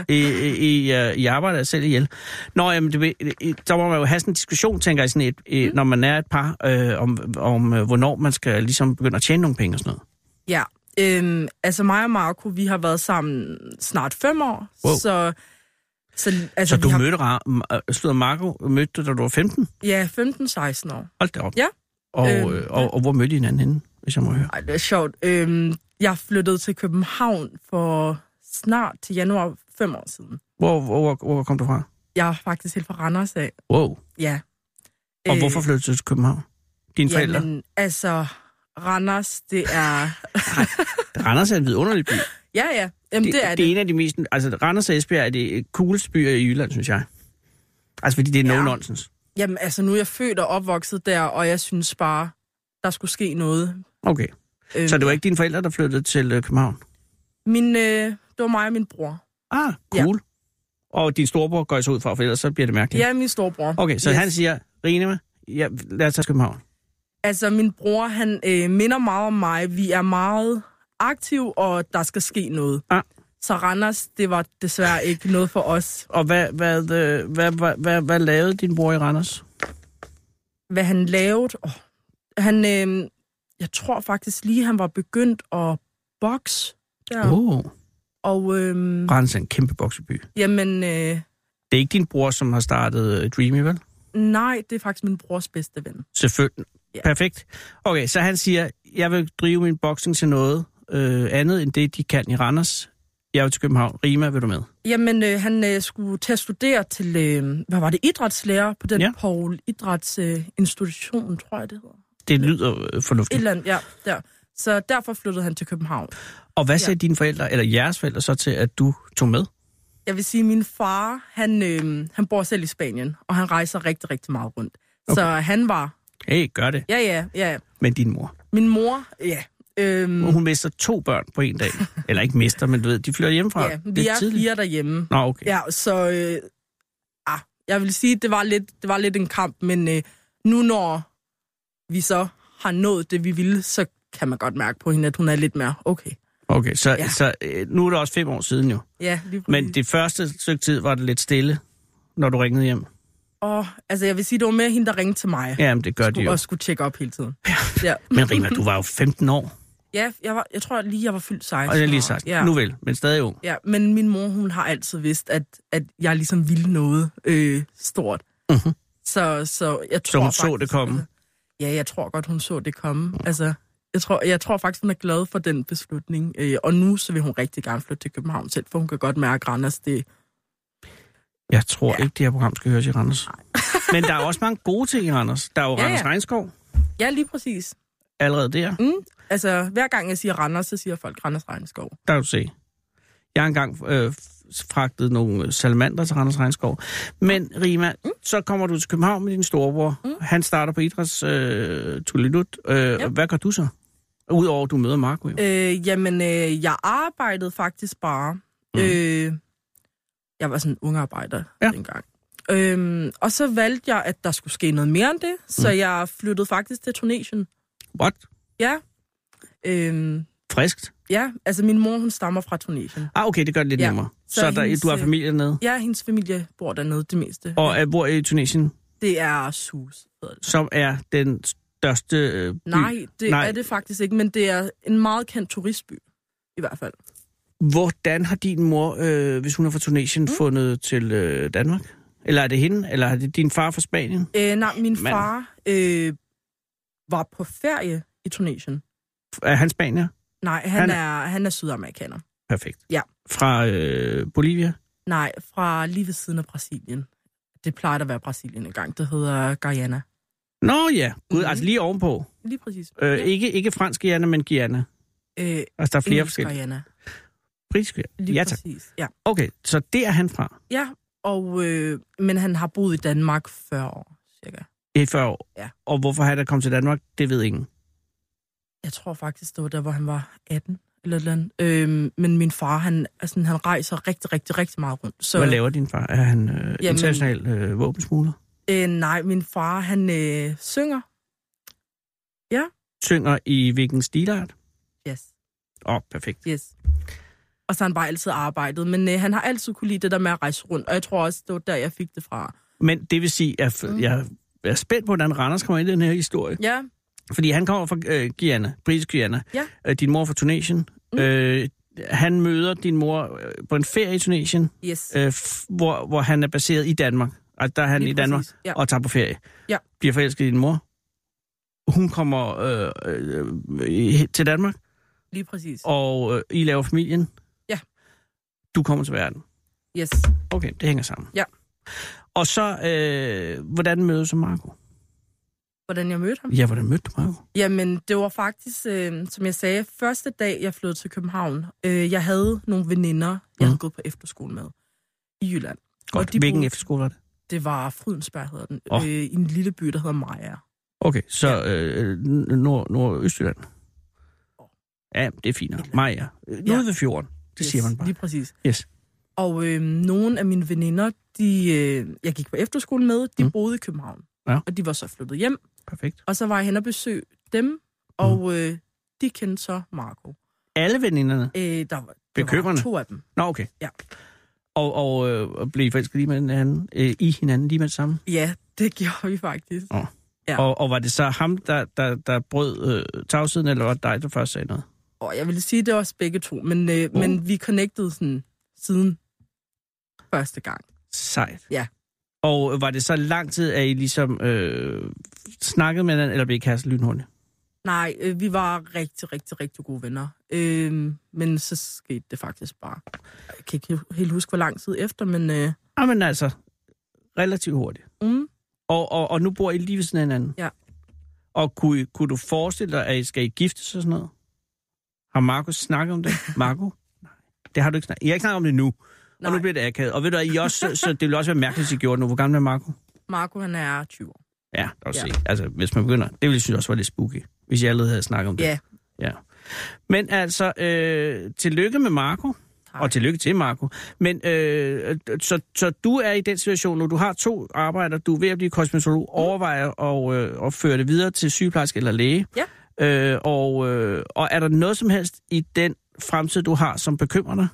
S3: I, I, I, øh, I arbejder jer selv ihjel. Nå, jamen, det, ved- i- der må man jo have sådan en diskussion, tænker jeg, sådan et, et,
S6: Mm.
S3: når man er et par, øh, om, om øh, hvornår man skal ligesom begynde at tjene nogle penge og sådan noget.
S6: ja. Øhm, altså mig og Marco, vi har været sammen snart fem år,
S3: Wow.
S6: så... Så, altså,
S3: Så du
S6: vi har,
S3: mødte Ra- m- øh, slutter Marco, mødte du, da du var 15?
S6: Ja, 15-16 år.
S3: Hold da op.
S6: Ja.
S3: Og,
S6: Øhm,
S3: øh, og, og hvor mødte I hinanden henne, hvis jeg må høre?
S6: Ej, det er sjovt. Øhm, jeg flyttede til København for snart til januar fem år siden.
S3: Hvor, hvor, hvor kom du fra?
S6: Jeg er faktisk helt fra Randers af.
S3: Wow.
S6: Ja.
S3: Og
S6: Øh,
S3: hvorfor flyttede du til København? Dine forældre?
S6: Jamen, altså, Randers, det er...
S3: Randers er en vidunderlig by.
S6: ja, ja. Jamen, det, det er
S3: det er
S6: det.
S3: en af de mest... Altså, Randers og Esbjerg er de cooleste byer i Jylland, synes jeg. Altså, fordi det er no
S6: Ja.
S3: nonsense.
S6: Jamen, altså, nu er jeg født og opvokset der, og jeg synes bare, der skulle ske noget.
S3: Okay.
S6: Øh,
S3: Så det var ikke dine forældre, der flyttede til øh, København?
S6: Min, øh, det var mig og min bror.
S3: Ah, cool. Og din storebror går jeg så ud fra, for ellers så bliver det mærkeligt.
S6: Ja, min storebror.
S3: Okay, så
S6: Yes.
S3: han siger, Rine, ja, lad os tage til København.
S6: Altså, min bror, han øh, minder meget om mig. Vi er meget aktiv, og der skal ske noget.
S3: Ah.
S6: Så Randers, det var desværre ikke noget for os.
S3: Og hvad, hvad, øh, hvad, hvad, hvad, hvad lavede din bror i Randers?
S6: Hvad han lavede... Oh, han, øh, jeg tror faktisk lige, han var begyndt at bokse der. Uh.
S3: Oh.
S6: Og øh,
S3: Randers er en kæmpe bokseby.
S6: jamen, øh,
S3: Det er ikke din bror, som har startet øh, Dreamy, vel?
S6: nej, det er faktisk min brors bedste ven.
S3: Selvfølgelig.
S6: Ja.
S3: Perfekt. Okay, så han siger, jeg vil drive min boksning til noget øh, andet, end det, de kan i Randers. Jeg vil til København. Rima, vil du med?
S6: Jamen, øh, han øh, skulle til at studere til, øh, hvad var det, idrætslærer på den
S3: Ja.
S6: ja. Paul Idrætsinstitution, øh, institution, tror jeg det hedder.
S3: Det lyder øh,
S6: Et
S3: fornuftigt.
S6: eller andet, ja, der. Så derfor flyttede han til København.
S3: Og hvad
S6: Ja.
S3: siger ja. dine forældre, eller jeres forældre, så til, at du tog med?
S6: Jeg vil sige, at min far, han, øh, han bor selv i Spanien, og han rejser rigtig, rigtig meget rundt. Okay. Så han var,
S3: Hey, gør det.
S6: ja, ja, ja.
S3: Men din mor.
S6: Min mor, ja. Øhm,
S3: Mm. Hun mister to børn på en dag. eller ikke mister, men du ved, de flytter hjemmefra.
S6: ja,
S3: lidt
S6: vi er
S3: tidligt.
S6: fire derhjemme.
S3: Nå, okay.
S6: Ja, så øh, ah, jeg vil sige, det var lidt, det var lidt en kamp, men øh, nu når vi så har nået det, vi ville, så kan man godt mærke på hende, at hun er lidt mere okay.
S3: Okay, så, ja.
S6: Ja. Mm.
S3: så øh, nu er det også fem år siden jo.
S6: Ja, lige
S3: Men det første stykke tid var det lidt stille, når du ringede hjem.
S6: Og, altså, jeg vil sige, det var mere hende, der ringte til mig.
S3: Jamen, det gør det
S6: skulle,
S3: jo.
S6: og skulle tjekke op hele tiden. Ja. ja.
S3: Men Rima, du var jo 15 år.
S6: Ja, jeg, var, jeg tror lige, jeg var fyldt 16.
S3: Og jeg har lige sagt,
S6: Ja.
S3: ja. nu vel, men stadig ung.
S6: ja, men min mor, hun har altid vidst, at, at jeg ligesom ville noget øh, stort. Mm-hmm. Så, så jeg
S3: Mhm. Så
S6: tror
S3: hun
S6: faktisk, altså,
S3: så det komme.
S6: Ja, jeg tror godt, hun så det komme. Mm. Altså, jeg tror, jeg tror faktisk, hun er glad for den beslutning. Øh, og nu så vil hun rigtig gerne flytte til København selv, for hun kan godt mærke, at Randers, det...
S3: Jeg tror ja. ikke, det her program skal høres i Randers. men der er også mange gode ting i Randers. Der er jo
S6: Ja,
S3: Randers
S6: ja.
S3: Regnskov
S6: Ja, lige præcis.
S3: allerede der,
S6: Mm. Altså, hver gang jeg siger Randers, så siger folk Randers Regnskov.
S3: der kan du se. Jeg har engang øh, f- fragtet nogle salamander til Randers Regnskov. Men Rima, mm. så kommer du til København med din storebror. Mm. Han starter på idræts øh, tullilut. Øh, ja. Hvad gør du så? Udover at du møder Marco jo.
S6: Øh, jamen, øh, jeg arbejdede faktisk bare. Mm. Øh, jeg var sådan en ung arbejder
S3: Ja.
S6: ja. dengang. Øhm, og så valgte jeg, at der skulle ske noget mere end det, så mm. jeg flyttede faktisk til Tunesien.
S3: What?
S6: Ja. Øhm,
S3: Friskt?
S6: ja, altså min mor, hun stammer fra Tunesien.
S3: Ah, okay, det gør det lidt ja.
S6: Ja.
S3: nemmere. Så,
S6: Så
S3: så der,
S6: hendes,
S3: du har
S6: øh,
S3: familie dernede.
S6: Ja, hendes familie bor dernede det meste. Og...
S3: Og øh, bor i Tunesien,
S6: Det er Sus, hedder det.
S3: som er den største øh, by.
S6: Nej,
S3: Nej.
S6: det Nej. er det faktisk ikke, men det er en meget kendt turistby, i hvert fald.
S3: Hvordan har din mor, øh, hvis hun er fra Tunesien, mm. fundet til øh, Danmark? Eller er det hende? Eller er det din far fra Spanien?
S6: Øh, nej, min
S3: Mand.
S6: far øh, var på ferie i Tunesien.
S3: Er han spanier?
S6: Nej, han,
S3: Han
S6: han
S3: er-
S6: er... er han er sydamerikaner.
S3: Perfekt.
S6: Ja.
S3: Fra øh, Bolivia?
S6: Nej, fra lige ved siden af Brasilien. Det plejer at være Brasilien engang. Det hedder Guyana.
S3: Nå ja, gud, mm.
S6: Mhm.
S3: altså lige ovenpå.
S6: Lige præcis.
S3: Øh, ikke, ikke fransk Guyana, men Guyana.
S6: øh,
S3: Altså der er flere
S6: Engelsk
S3: forskellige.
S6: Guyana.
S3: Britisk
S6: Lige
S3: Guyana. Ja tak.
S6: præcis. Ja.
S3: Okay, så det er han fra
S6: ja, og øh, men han har boet i Danmark 40 år, cirka.
S3: i 40 år.
S6: Ja.
S3: Og hvorfor han er kommet til Danmark, det ved ingen.
S6: Jeg tror faktisk, det var der, hvor han var 18 eller et eller andet. Øh, men min far, han, altså, han rejser rigtig, rigtig, rigtig meget rundt. Så,
S3: Hvad laver din far? Er han øh,
S6: Jamen-
S3: international øh, våbensmugler?
S6: Øh, nej, min far, han øh, synger.
S3: synger i hvilken stilart?
S6: Yes.
S3: Åh, oh, perfekt.
S6: Yes. Og så har han bare altid arbejdet. Men øh, han har altid kunne lide det der med at rejse rundt. Og jeg tror også, det var der, jeg fik det fra.
S3: Men det vil sige, at
S6: Mm.
S3: jeg, jeg er spændt på, hvordan Randers kommer ind i den her historie.
S6: Ja,
S3: Fordi han kommer fra øh, Guyana, britisk Guyana.
S6: Ja.
S3: Øh, din mor er fra Tunesien. Mm. Øh, han møder din mor øh, på en ferie i Tunesien,
S6: yes.
S3: øh, f- hvor, hvor han er baseret i Danmark. Og der er han
S6: Lige
S3: i Danmark
S6: præcis, ja.
S3: og tager på ferie.
S6: Ja.
S3: Bliver forelsket i din mor. Hun kommer øh, øh, øh, til Danmark,
S6: Lige præcis.
S3: og øh, I laver familien.
S6: Ja.
S3: Du kommer til verden.
S6: Yes.
S3: Okay, det hænger sammen.
S6: Ja.
S3: Og så, øh, hvordan mødes du Marco?
S6: Hvordan jeg mødte ham?
S3: Ja, hvordan mødte du Marco?
S6: Jamen, det var faktisk, øh, som jeg sagde, første dag, jeg flyttede til København. Øh, jeg havde nogle veninder, jeg
S3: Mhm.
S6: havde gået på efterskole med i Jylland.
S3: Godt.
S6: de
S3: Hvilken
S6: boede-
S3: efterskole var det?
S6: Det var Frydensberg, hedder den.
S3: Åh.
S6: Oh. Øh, I en lille by, der hedder Maja.
S3: Okay, så ja. øh, n- nord, Nordøstjylland. Ja, det er fint. nok. Maja. Øh, Ude ved fjorden. Det yes. siger man bare.
S6: Lige præcis.
S3: Yes.
S6: Og øh, nogle af mine veninder, de, øh, jeg gik på efterskole med, de
S3: Mhm.
S6: mm. boede i København.
S3: Ja.
S6: Og de var så flyttet hjem,
S3: Perfekt.
S6: og så var jeg hen og besøge dem, og
S3: Mm.
S6: øh, de kendte så Marco.
S3: Alle veninderne?
S6: Øh, der var, der var
S3: Bekymrende.
S6: to af dem.
S3: Nå, okay.
S6: Ja.
S3: Og, og øh, og blev I forelsket lige med hinanden, øh, i hinanden lige med det samme?
S6: Ja, det gjorde vi faktisk. Ja.
S3: Og, og var det så ham, der, der, der brød øh, tavsheden, eller var det dig, der først sagde noget?
S6: Og jeg vil sige, det var os begge to, men, øh, uh. men vi connectede sådan siden første gang.
S3: Sejt.
S6: Ja.
S3: Og øh, var det så lang tid, at I ligesom øh, snakkede med hinanden, eller blev I kæreste lynhurtigt?
S6: Nej, øh, vi var rigtig, rigtig, rigtig gode venner. Øh, men så skete det faktisk bare. Jeg kan ikke helt huske, hvor lang tid efter, men øh,
S3: Jamen altså, relativt hurtigt.
S6: mm,
S3: Og, og, og nu bor I lige ved siden af hinanden?
S6: Ja.
S3: Og kunne, I- kunne du forestille dig, at I skal I giftes og sådan noget? Har Markus snakket om det? Marco? Nej. Det har du ikke snakket I har ikke snakket om det nu. Nej. Og
S6: Nej.
S3: nu bliver det akavet. Og ved du, hvad, I også, så, så det ville også være mærkeligt, hvis I gjorde det nu. Hvor gammel er Marco?
S6: Marco han er 20 år.
S3: Ja, der er
S6: Ja.
S3: ja. Altså, hvis man begynder. Det ville jeg synes også var lidt spooky, hvis jeg allerede havde snakket om det.
S6: Ja.
S3: ja. Men altså, øh, tillykke med Marco.
S6: Tak.
S3: Og tillykke til, Marco. Men øh, så, så du er i den situation nu, du har to arbejder, du er ved at blive kosmetolog,
S6: Mm.
S3: overvejer at, øh, at føre det videre til sygeplejerske eller læge. Ja. Øh, og, øh, og er der noget som helst i den fremtid, du har, som bekymrer dig?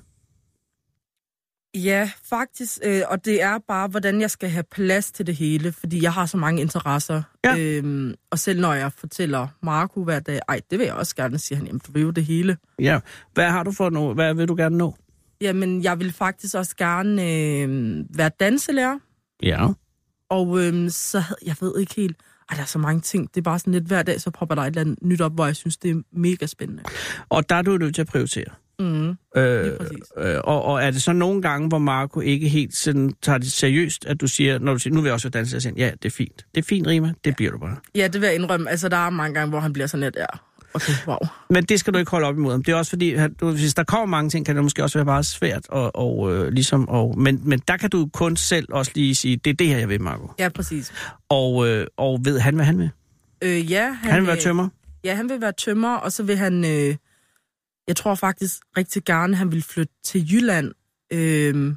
S6: Ja, faktisk. Øh, og det er bare, hvordan jeg skal have plads til det hele, fordi jeg har så mange interesser.
S3: Ja.
S6: Øhm, og selv når jeg fortæller Marco hver dag, ej, det vil jeg også gerne, siger han, jamen du vil jo det hele.
S3: Ja. Hvad har du for nu? Hvad vil du gerne nå?
S6: Jamen, jeg vil faktisk også gerne øh, være danselærer,
S3: Ja.
S6: og øh, så havde, jeg ved ikke helt, ej, der er så mange ting, det er bare sådan lidt hver dag, så popper der et eller andet nyt op, hvor jeg synes, det er mega spændende.
S3: Og der er du nødt til at prioritere.
S6: Mm.
S3: Øh,
S6: Lige præcis.
S3: øh, og, og er det så nogle gange, hvor Marco ikke helt sådan, tager det seriøst, at du siger, når du siger, nu vil jeg også danse, jeg siger, ja, det er fint. Det er fint, Rima, det ja. bliver du bare.
S6: Ja, det vil jeg indrømme. Altså, der er mange gange, hvor han bliver sådan lidt, ja, okay, wow.
S3: Men det skal du ikke holde op imod ham. Det er også fordi, han- du, hvis der kommer mange ting, kan det måske også være meget svært. Og, og, øh, ligesom, og, men, men der kan du kun selv også lige sige, det er det her, jeg vil, Marco.
S6: Ja, præcis.
S3: Og, øh, og ved han, hvad han vil?
S6: Øh, ja,
S3: Han, han vil være
S6: øh,
S3: tømmer.
S6: Ja, han vil være tømmer, og så vil han, øh, jeg tror faktisk rigtig gerne, han vil flytte til Jylland. Øh,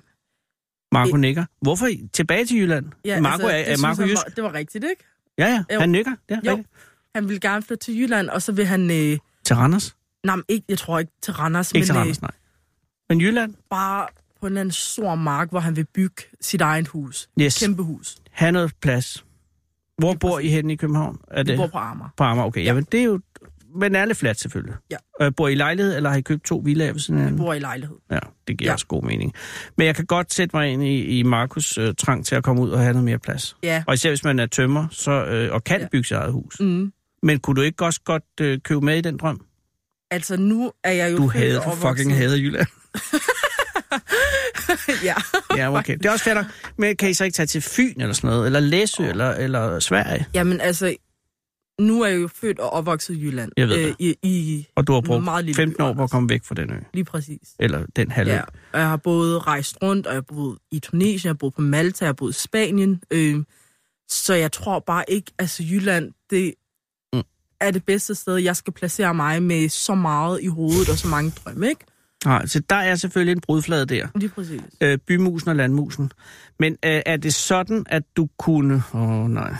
S3: Marco nikker. Hvorfor I- tilbage til Jylland?
S6: ja,
S3: Marco
S6: altså,
S3: er,
S6: det
S3: er
S6: synes
S3: Marco
S6: han
S3: jysk.
S6: var, det var rigtigt, ikke?
S3: Ja, ja,
S6: Jo.
S3: han nikker. Det er
S6: Jo.
S3: rigtigt.
S6: Han vil gerne flytte til Jylland, og så vil han... Øh,
S3: Til Randers?
S6: nej, men ikke, jeg tror ikke til Randers,
S3: Ikke til
S6: men
S3: Randers, nej. Men Jylland?
S6: Øh, bare på en eller anden stor mark, hvor han vil bygge sit eget hus.
S3: Yes.
S6: Kæmpe hus.
S3: have noget plads. Hvor bor I henne i København? Er
S6: Vi
S3: det
S6: bor på Amager.
S3: på Amager? Okay, ja. Jamen, det er jo... Men alle flat selvfølgelig.
S6: Ja.
S3: Øh, bor I i lejlighed, eller har I købt to villaer ved sådan
S6: Vi
S3: en?
S6: bor i lejlighed.
S3: Ja, det giver ja.
S6: Ja.
S3: også god mening. Men jeg kan godt sætte mig ind i, i Markus' øh, trang til at komme ud og have noget mere plads.
S6: Ja.
S3: Og især hvis man er tømmer så, øh, og kan ja.
S6: Ja.
S3: bygge sit eget hus.
S6: Mm.
S3: Men kunne du ikke også godt øh, købe med i den drøm?
S6: Altså, nu er jeg jo...
S3: Du
S6: født
S3: havde,
S6: og
S3: du
S6: opvokset-
S3: fucking hader Jylland.
S6: ja.
S3: ja, okay. Det er også fedt. nok. Men kan I så ikke tage til Fyn eller sådan noget? Eller Læsø eller, eller Sverige?
S6: Jamen, altså, nu er jeg jo født og opvokset i Jylland.
S3: Jeg ved
S6: øh, i, i,
S3: Og du har brugt
S6: Meget lille
S3: 15 år
S6: by,
S3: på at komme væk fra den ø.
S6: Lige præcis.
S3: Eller den halvø.
S6: Ja, og jeg har både rejst rundt, og jeg har boet i Tunesien, jeg har boet på Malta, jeg har boet i Spanien. Øh, så jeg tror bare ikke, altså Jylland, det
S3: Mm.
S6: er det bedste sted, jeg skal placere mig med så meget i hovedet og så mange drømme, ikke?
S3: Nej, så der er selvfølgelig en brudflade der.
S6: Lige præcis.
S3: Øh, bymusen og landmusen. Men øh, er det sådan, at du kunne... Åh, oh, nej.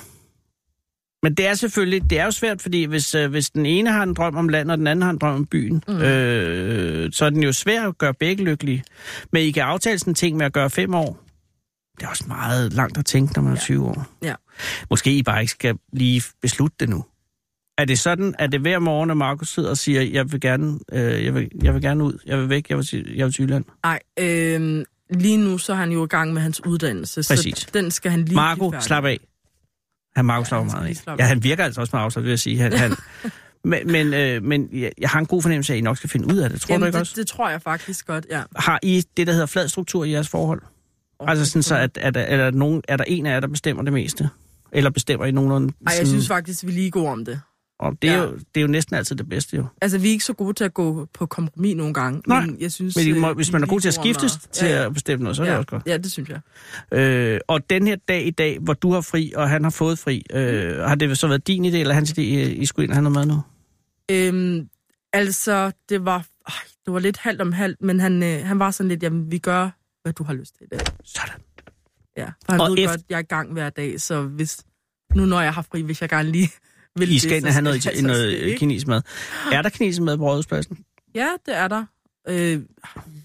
S3: Men det er selvfølgelig, det er jo svært, fordi hvis, øh, hvis den ene har en drøm om land, og den anden har en drøm om byen, mm. øh, så er den jo svær at gøre begge lykkelige. Men I kan aftale sådan en ting med at gøre fem år. Det er også meget langt at tænke, når man er 20 år.
S6: Ja.
S3: Måske I bare ikke skal lige beslutte det nu. Er det sådan, at det hver morgen, at Markus sidder og siger, jeg vil gerne, øh, jeg vil, jeg vil gerne ud, jeg vil væk, jeg vil, til- jeg vil til Jylland?
S6: Nej, øhm, lige nu så er han jo i gang med hans uddannelse,
S3: Præcis.
S6: så den skal han lige...
S3: Marco,
S6: blive færdig.
S3: slap af. Han Marco
S6: Ja,
S3: slapper
S6: han skal
S3: meget
S6: lige
S3: af.
S6: slappe
S3: Ja,
S6: af.
S3: han virker altså også meget afslappet, vil jeg sige. Han, han, men men, øh, men jeg, jeg har en god fornemmelse af, at I nok skal finde ud af det. Tror du
S6: Jamen,
S3: ikke også?
S6: det, det tror jeg faktisk godt, ja.
S3: har I det, der hedder flad struktur i jeres forhold? Altså sådan så, at, at, at, er, der nogen, er der en af jer, der bestemmer det meste? Eller bestemmer I nogenlunde?
S6: Ej,
S3: sådan-
S6: jeg synes faktisk, vi er lige gode om det.
S3: og det, er
S6: ja.
S3: jo, det er jo næsten altid det bedste, jo.
S6: Altså, vi er ikke så gode til at gå på kompromis nogle gange.
S3: Nej,
S6: men jeg synes...
S3: Men I må,
S6: øh,
S3: hvis
S6: vi
S3: man er
S6: lige
S3: god til at
S6: gode om
S3: skiftes
S6: at-
S3: til
S6: ja, ja.
S3: at bestemme noget, så er det
S6: ja.
S3: også godt.
S6: Ja, det synes jeg.
S3: Øh, og den her dag i dag, hvor du har fri, og han har fået fri, øh, har det så været din idé, eller hans idé, I, I skulle ind og have noget mad nu?
S6: Øhm, altså, det var, øh, det var lidt halvt om halvt, men han, øh, han var sådan lidt, jamen, vi gør, hvad du har lyst til i dag.
S3: Sådan.
S6: Ja, for han
S3: Og
S6: og ved
S3: efter-
S6: godt, jeg er i gang hver dag, så hvis, nu når jeg har fri, hvis jeg gerne lige vil
S3: I
S6: det,
S3: skal ind
S6: så
S3: og have
S6: jeg
S3: noget, øh,
S6: så det,
S3: noget
S6: ikke?
S3: kinesisk mad. Er der kinesisk mad på rådhuspladsen?
S6: Ja, det er der. Øh,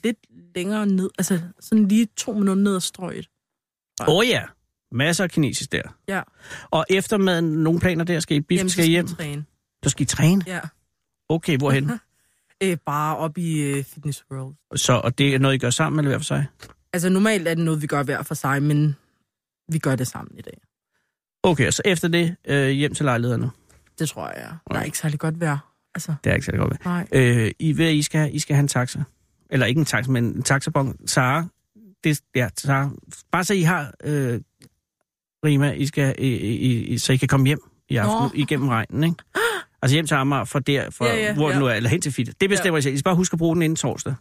S6: lidt længere ned, altså sådan lige to minutter ned ad strøget.
S3: Åh oh, ja, masser af kinesisk der.
S6: Ja.
S3: Og eftermaden, nogle planer der, skal I biffen,
S6: så
S3: skal I hjem?
S6: vi Træne.
S3: Du skal I træne?
S6: Ja.
S3: Okay, hvorhen?
S6: Øh, bare op i øh, Fitness World.
S3: Så, og det er noget, I gør sammen, eller hver for sig?
S6: Altså normalt er det noget, vi gør hver for sig, men vi gør det sammen i dag.
S3: Okay, så efter det, øh, hjem til lejlighederne.
S6: Det tror jeg, ja. Der er ikke særlig godt vejr. Altså,
S3: Det er ikke særlig godt ved.
S6: nej.
S3: Øh, I ved, at I skal, I skal have en taxa. Eller ikke en taxa, men en taxabon. Sara, det, ja, Sara. Bare så I har, øh, Rima, I skal, I, I, I, så I kan komme hjem i aften,
S6: Nå.
S3: igennem regnen, ikke? Altså hjem til Amager fra der, fra, ja,
S6: Ja,
S3: ja,
S6: ja,
S3: hvor ja.
S6: ja.
S3: nu er, eller hen til Fitte. Det bestemmer ja. I selv. I skal bare huske at bruge den inden torsdag.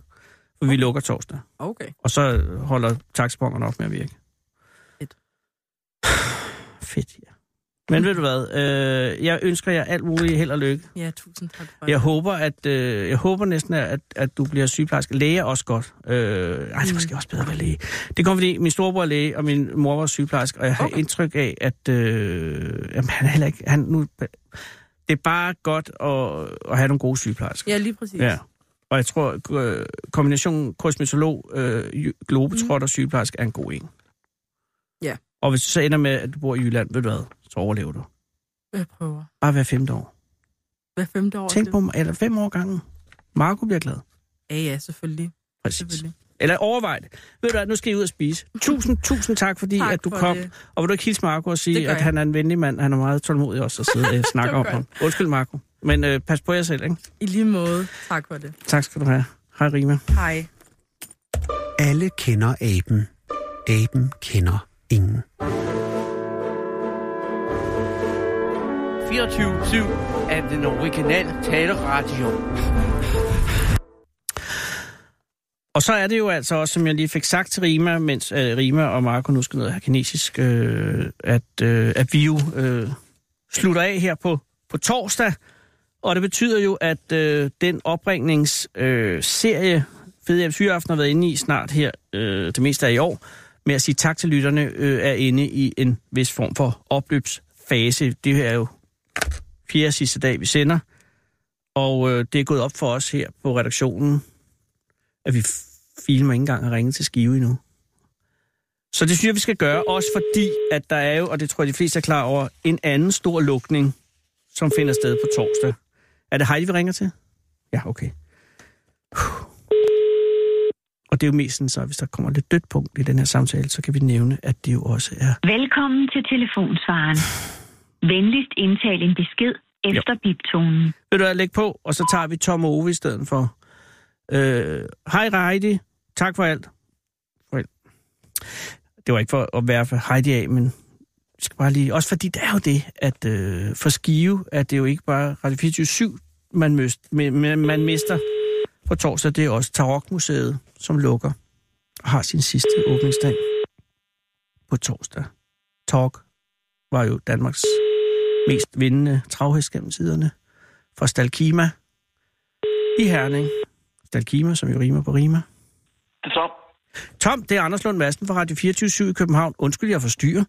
S3: For vi lukker torsdag.
S6: Okay.
S3: Og så holder taxabongerne op med at virke.
S6: Fedt.
S3: Fedt, ja. Men ved du hvad, øh, jeg ønsker jer alt muligt held og lykke.
S6: Ja, tusind tak for
S3: Jeg
S6: det.
S3: håber, at, øh, jeg håber næsten, at, at du bliver sygeplejerske. Læge er også godt. Øh, ej, det er måske også bedre at være læge. Det kom, fordi min storebror er læge, og min mor var sygeplejerske, og jeg har okay.
S6: Okay.
S3: indtryk af, at øh, jamen, han er heller ikke... Han, nu, det er bare godt at, at have nogle gode sygeplejersker.
S6: Ja, lige præcis.
S3: Ja. Og jeg tror, øh, kombinationen kosmetolog, øh, jy- globetrotter og sygeplejerske er en god en.
S6: Mm. Ja.
S3: Og hvis du så ender med, at du bor i Jylland, ved du hvad, så overlever du.
S6: Jeg prøver.
S3: Bare hver femte år.
S6: Hver femte år.
S3: Tænk
S6: det-
S3: på, eller fem år gangen. Marco bliver glad.
S6: Ja, ja, selvfølgelig.
S3: Præcis.
S6: selvfølgelig.
S3: Eller overvej det. Ved du hvad, nu skal I ud og spise. Tusind, tusind tak, fordi tak
S6: Tak
S3: at du
S6: for
S3: kom. Det.
S6: det.
S3: Og vil du ikke hilse Marco og
S6: Det
S3: sige,
S6: gør
S3: at
S6: jeg.
S3: han er en venlig mand. Han er meget tålmodig også at sidde og snakke
S6: var
S3: om
S6: godt.
S3: ham. Undskyld, Marco. Men øh, pas på jer selv, ikke?
S6: I lige måde. Tak for det.
S3: Tak skal du have. Hej, Rima.
S6: Hej.
S2: Alle kender aben. Aben kender ingen.
S7: 24-7 af den originale taleradio.
S3: Og så er det jo altså også, som jeg lige fik sagt til Rima, mens øh, Rima og Marco nu skal ned og have kinesisk, øh, at, øh, at vi jo øh, slutter af her på, på torsdag. Og det betyder jo, at øh, den opringningsserie, øh, serie, Fede Hjems Hyreaften har været inde i snart her, øh, det meste af i år, med at sige tak til lytterne, øh, er inde i en vis form for opløbsfase. Det her er jo fjerde sidste dag, vi sender. Og øh, det er gået op for os her på redaktionen, at vi f- filmer ikke engang at ringe til Skive endnu. Så det synes jeg, vi skal gøre, også fordi, at der er jo, og det tror jeg, de fleste er klar over, en anden stor lukning, som finder sted på torsdag. Er det Heidi, vi ringer til? Ja, okay. Puh. Og det er jo mest sådan, så hvis der kommer lidt dødt punkt i den her samtale, så kan vi nævne, at det jo også er...
S8: Velkommen til telefonsvaren. Venligst indtal en besked efter biptonen.
S3: Vil du hvad, læg på, og så tager vi Tom og Ove i stedet for... Øh, Hej Heidi, tak for alt. For alt. Det var ikke for at være for Heidi af, men vi skal bare lige... Også fordi det er jo det, at øh, for Skive, at det jo ikke bare Radio 24 man, møst, men- men- man mister på torsdag. Det er også Tarokmuseet, som lukker og har sin sidste åbningsdag på torsdag. Tarok var jo Danmarks mest vindende travhest gennem tiderne fra Stalkima i Herning. Stalkima, som jo rimer på rimer.
S7: Det er Tom.
S3: Tom, det er Anders Lund Madsen fra Radio 24 i København. Undskyld, jeg forstyrrer.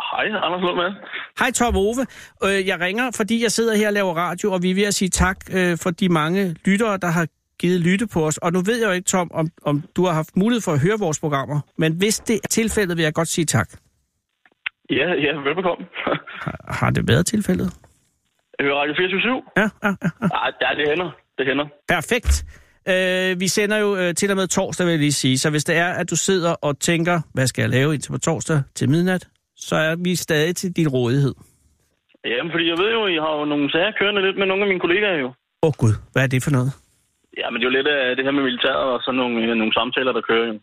S7: Hej, Anders Lund Madsen.
S3: Hej Tom Ove. Øh, Jeg ringer, fordi jeg sidder her og laver radio, og vi er ved at sige tak øh, for de mange lyttere, der har givet lytte på os. Og nu ved jeg jo ikke, Tom, om, om du har haft mulighed for at høre vores programmer, men hvis det er tilfældet, vil jeg godt sige tak.
S9: Ja, ja, velbekomme.
S3: Har, har det været tilfældet?
S9: Jeg hører Radio 24
S3: Ja, ja, ja.
S9: Nej, der det hænder. Det hænder.
S3: Perfekt. Øh, vi sender jo øh, til og med torsdag, vil jeg lige sige. Så hvis det er, at du sidder og tænker, hvad skal jeg lave indtil på torsdag til midnat, så er vi stadig til din rådighed.
S9: Jamen, fordi jeg ved jo, I har jo nogle sager kørende lidt med nogle af mine kollegaer jo.
S3: Åh oh, gud, hvad er det for noget?
S9: Ja, men det er jo lidt af det her med militæret og sådan nogle, øh, nogle samtaler, der kører jo.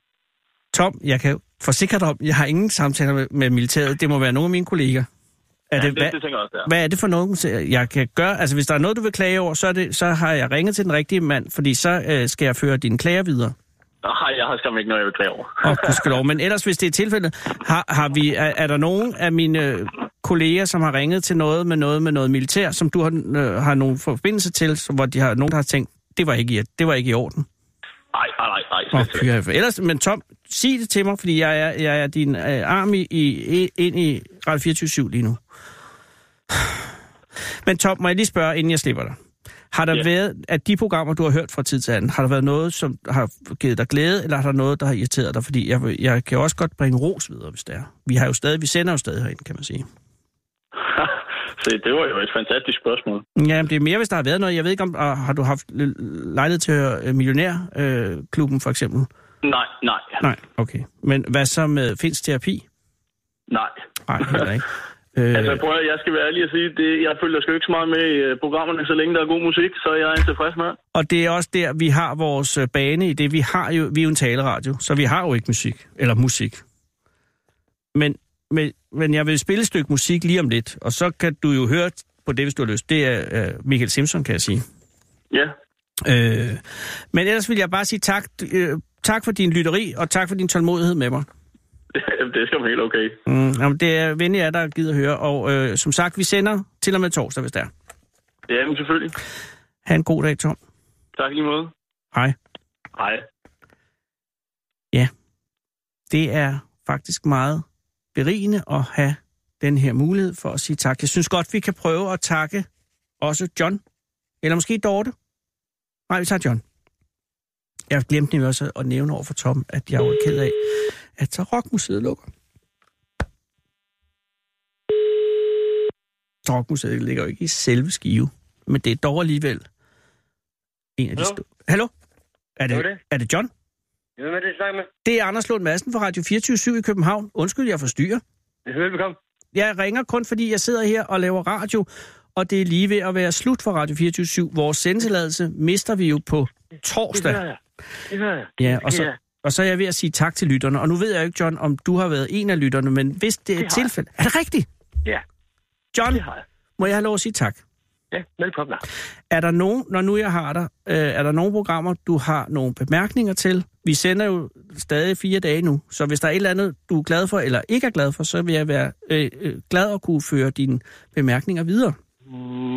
S3: Tom, jeg kan forsikre dig om, jeg har ingen samtaler med, med militæret. Det må være nogle af mine kolleger. Er
S9: ja,
S3: det,
S9: det,
S3: hvad,
S9: det, tænker jeg også, der.
S3: hvad er det for noget, jeg kan gøre? Altså, hvis der er noget, du vil klage over, så, er det, så har jeg ringet til den rigtige mand, fordi så øh, skal jeg føre dine klager videre.
S9: Nej, jeg har skam ikke noget, jeg vil klage over.
S3: Åh, gudskelov. Men ellers, hvis det er tilfældet, har, har vi, er, er der nogen af mine øh, kolleger, som har ringet til noget med noget med noget militær, som du har, øh, har nogen forbindelse til, som, hvor de har, nogen der har tænkt, det var ikke i, det var ikke i orden?
S9: Nej, nej, nej, nej.
S3: Åh,
S9: slet ikke.
S3: oh, Ellers, men Tom, sig det til mig, fordi jeg er, jeg er din øh, arm i, i, ind i Radio 24 lige nu. Men Tom, må jeg lige spørge, inden jeg slipper dig. Har der
S9: Ja.
S3: været, at de programmer, du har hørt fra tid til anden, har der været noget, som har givet dig glæde, eller har der noget, der har irriteret dig? Fordi jeg, vil- jeg kan jo også godt bringe ros videre, hvis det er. Vi, har jo stadig, vi sender jo stadig herind, kan man sige.
S9: Se, det var jo et fantastisk spørgsmål.
S3: Ja, men det er mere, hvis der har været noget. Jeg ved ikke, om og har du haft l- lejlighed til at høre øh, Millionærklubben, for eksempel?
S9: Nej, nej,
S3: Nej, okay. Men hvad så med finsk terapi?
S9: nej.
S3: Nej, heller ikke.
S9: Altså,
S3: Øh,
S9: prøv at, høre, jeg skal være ærlig og sige, det, jeg følger sgu ikke så meget med i øh, programmerne, så længe der er god musik, så er jeg en tilfreds med.
S3: og det er også der, vi har vores øh, bane i det. Vi, har jo, vi er jo en taleradio, så vi har jo ikke musik. Eller musik. Men, men, men jeg vil spille et stykke musik lige om lidt, og så kan du jo høre på det, hvis du har lyst. Det er øh, Michael Simpson, kan jeg sige.
S9: Ja,
S3: Øh, men ellers vil jeg bare sige tak, øh, tak for din lytteri, og tak for din tålmodighed med mig.
S9: det er sgu helt okay.
S3: Mm, jamen, det er venlig af dig, der gider at høre. Og øh, som sagt, vi sender til og med torsdag, hvis der er.
S9: Jamen, selvfølgelig.
S3: Ha' en god dag, Tom.
S9: Tak i lige måde.
S3: Hej.
S9: Hej.
S3: det er faktisk meget berigende at have den her mulighed for at sige tak. Jeg synes godt, vi kan prøve at takke også John, eller måske Dorte. Nej, vi tager John. Jeg glemte nemlig også at nævne over for Tom, at jeg var ked af, at så Rockmuseet lukker. Så Rockmuseet ligger jo ikke i selve Skive, men det er dog alligevel en af
S10: Hallo?
S3: de store... Hallo? Er
S10: Hvad
S3: det,
S10: var det?
S3: er det John?
S10: Hvem er det, jeg snakker med?
S3: Det er Anders Lund Madsen fra Radio 24 i København. Undskyld, jeg forstyrrer.
S10: Velbekomme.
S3: Jeg ringer kun, fordi jeg sidder her og laver radio, og det er lige ved at være slut for Radio 24 Vores sendtilladelse mister vi jo på
S10: Det
S3: torsdag.
S10: hører jeg. Det hører jeg.
S3: Ja, og så,
S10: Ja.
S3: og så er jeg ved at sige tak til lytterne. Og nu ved jeg ikke, John, om du har været en af lytterne, men hvis det
S10: har
S3: er
S10: jeg.
S3: tilfældet... Er det rigtigt?
S10: Ja,
S3: John,
S10: det har jeg.
S3: må jeg have lov at sige tak?
S10: Ja, velkommen.
S3: Er der nogen, når nu jeg har dig, øh, er der nogle programmer, du har nogle bemærkninger til? Vi sender jo stadig fire dage nu, så hvis der er et eller andet, du er glad for eller ikke er glad for, så vil jeg være øh, øh, glad at kunne føre dine bemærkninger videre.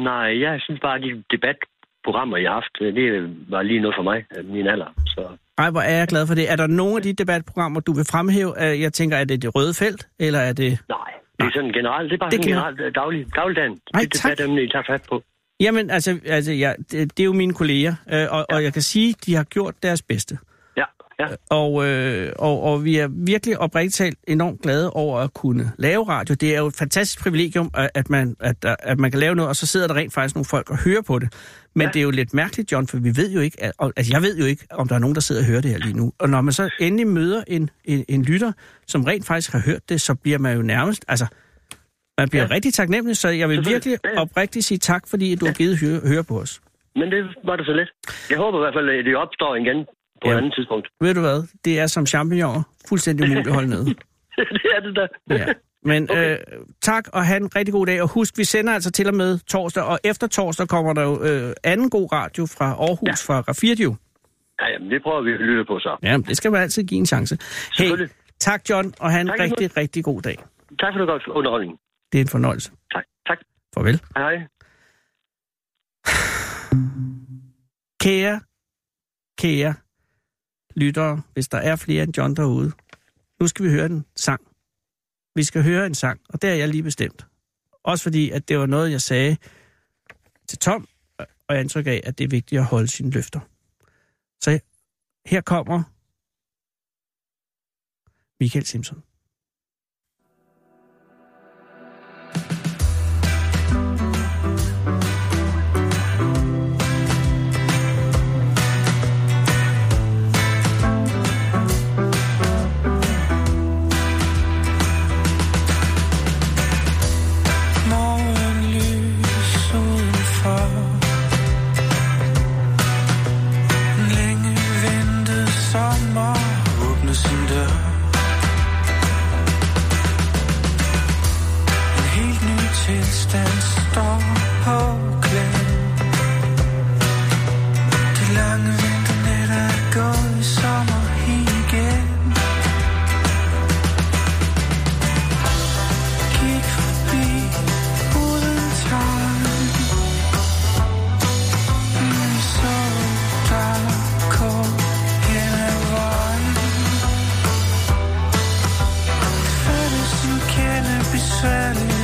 S10: Nej, jeg synes bare, at de debatprogrammer, jeg har haft, det var lige noget for mig, af min alder. Så
S3: Ej, hvor er jeg glad for det. Er der nogle af de debatprogrammer, du vil fremhæve? Øh, Jeg tænker, er det det røde felt, eller er det...
S10: nej, det er sådan generelt. Det er bare
S3: Det
S10: det sådan
S3: kan-
S10: generelt øh, daglig, dagligdagen.
S3: Nej,
S10: det
S3: tak.
S10: debatemne, I tager fat på.
S3: Jamen, altså, altså ja, det, det er jo mine kolleger, øh, og, og jeg kan sige, de har gjort deres bedste.
S10: Ja, ja.
S3: Og, øh, og, og vi er virkelig oprigtigt talt enormt glade over at kunne lave radio. Det er jo et fantastisk privilegium, at at man, at, der- at man kan lave noget, og så sidder der rent faktisk nogle folk og hører på det. Men ja. det er jo lidt mærkeligt, John, for vi ved jo ikke, at, og- altså jeg ved jo ikke, om der er nogen, der sidder og hører det her lige nu. Og når man så endelig møder en, en, en lytter, som rent faktisk har hørt det, så bliver man jo nærmest, altså man bliver ja. rigtig taknemmelig, så jeg vil
S10: Selvfølgelig.
S3: virkelig
S10: Ja, ja.
S3: oprigtigt sige tak, fordi at du har givet høre, høre på os.
S10: Men det var det så lidt. Jeg håber i hvert fald, at det opstår igen på
S3: Ja.
S10: et andet tidspunkt.
S3: Ved du hvad? Det er som champignoner. Fuldstændig umuligt at holde nede.
S10: det er det der.
S3: Ja. Men okay. øh, tak, og have en rigtig god dag. Og husk, vi sender altså til og med torsdag, og efter torsdag kommer der jo øh, anden god radio fra Aarhus, ja. fra Rafirdio.
S10: Ja, jamen, det prøver vi at lytte på så.
S3: Ja, det skal man altid give en chance. Hey,
S10: Selvfølgelig.
S3: tak John, og have en
S10: Tak,
S3: tak,
S10: John.
S3: rigtig, rigtig god dag.
S10: Tak for noget godt underholdning.
S3: Det er en fornøjelse.
S10: Tak. Tak.
S3: Farvel.
S10: Hej.
S3: Kære, kære lyttere, hvis der er flere end John derude, nu skal vi høre en sang. Vi skal høre en sang, og det er jeg lige bestemt. Også fordi, at det var noget, jeg sagde til Tom, og jeg indtryk af, at det er vigtigt at holde sine løfter. Så her kommer Michael Simpson.
S11: tilstand står på klem Det lange vinternat er gået i sommer igen Gik forbi uden tegn Men så der kom hen ad vejen Det føles som kende besværligt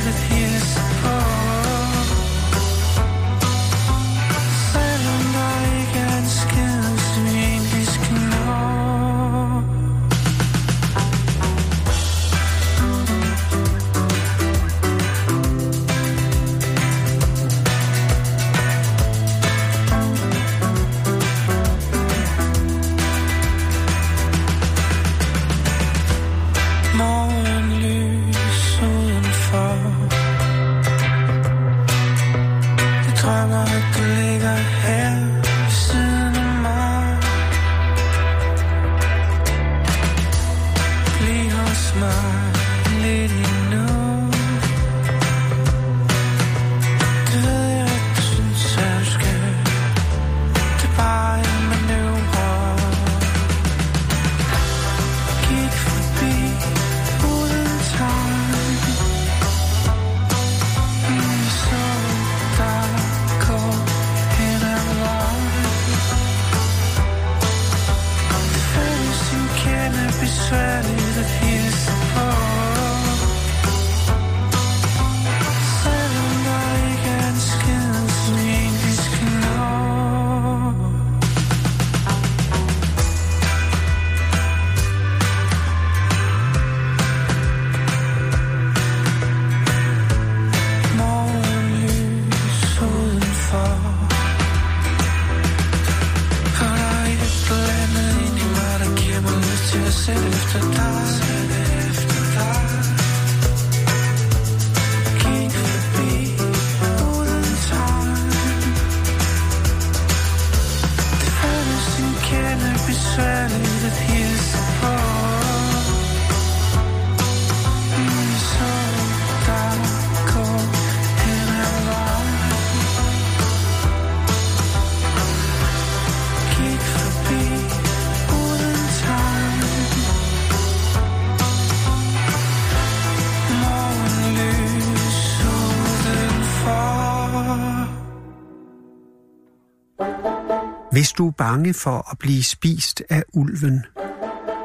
S2: Hvis du er bange for at blive spist af ulven,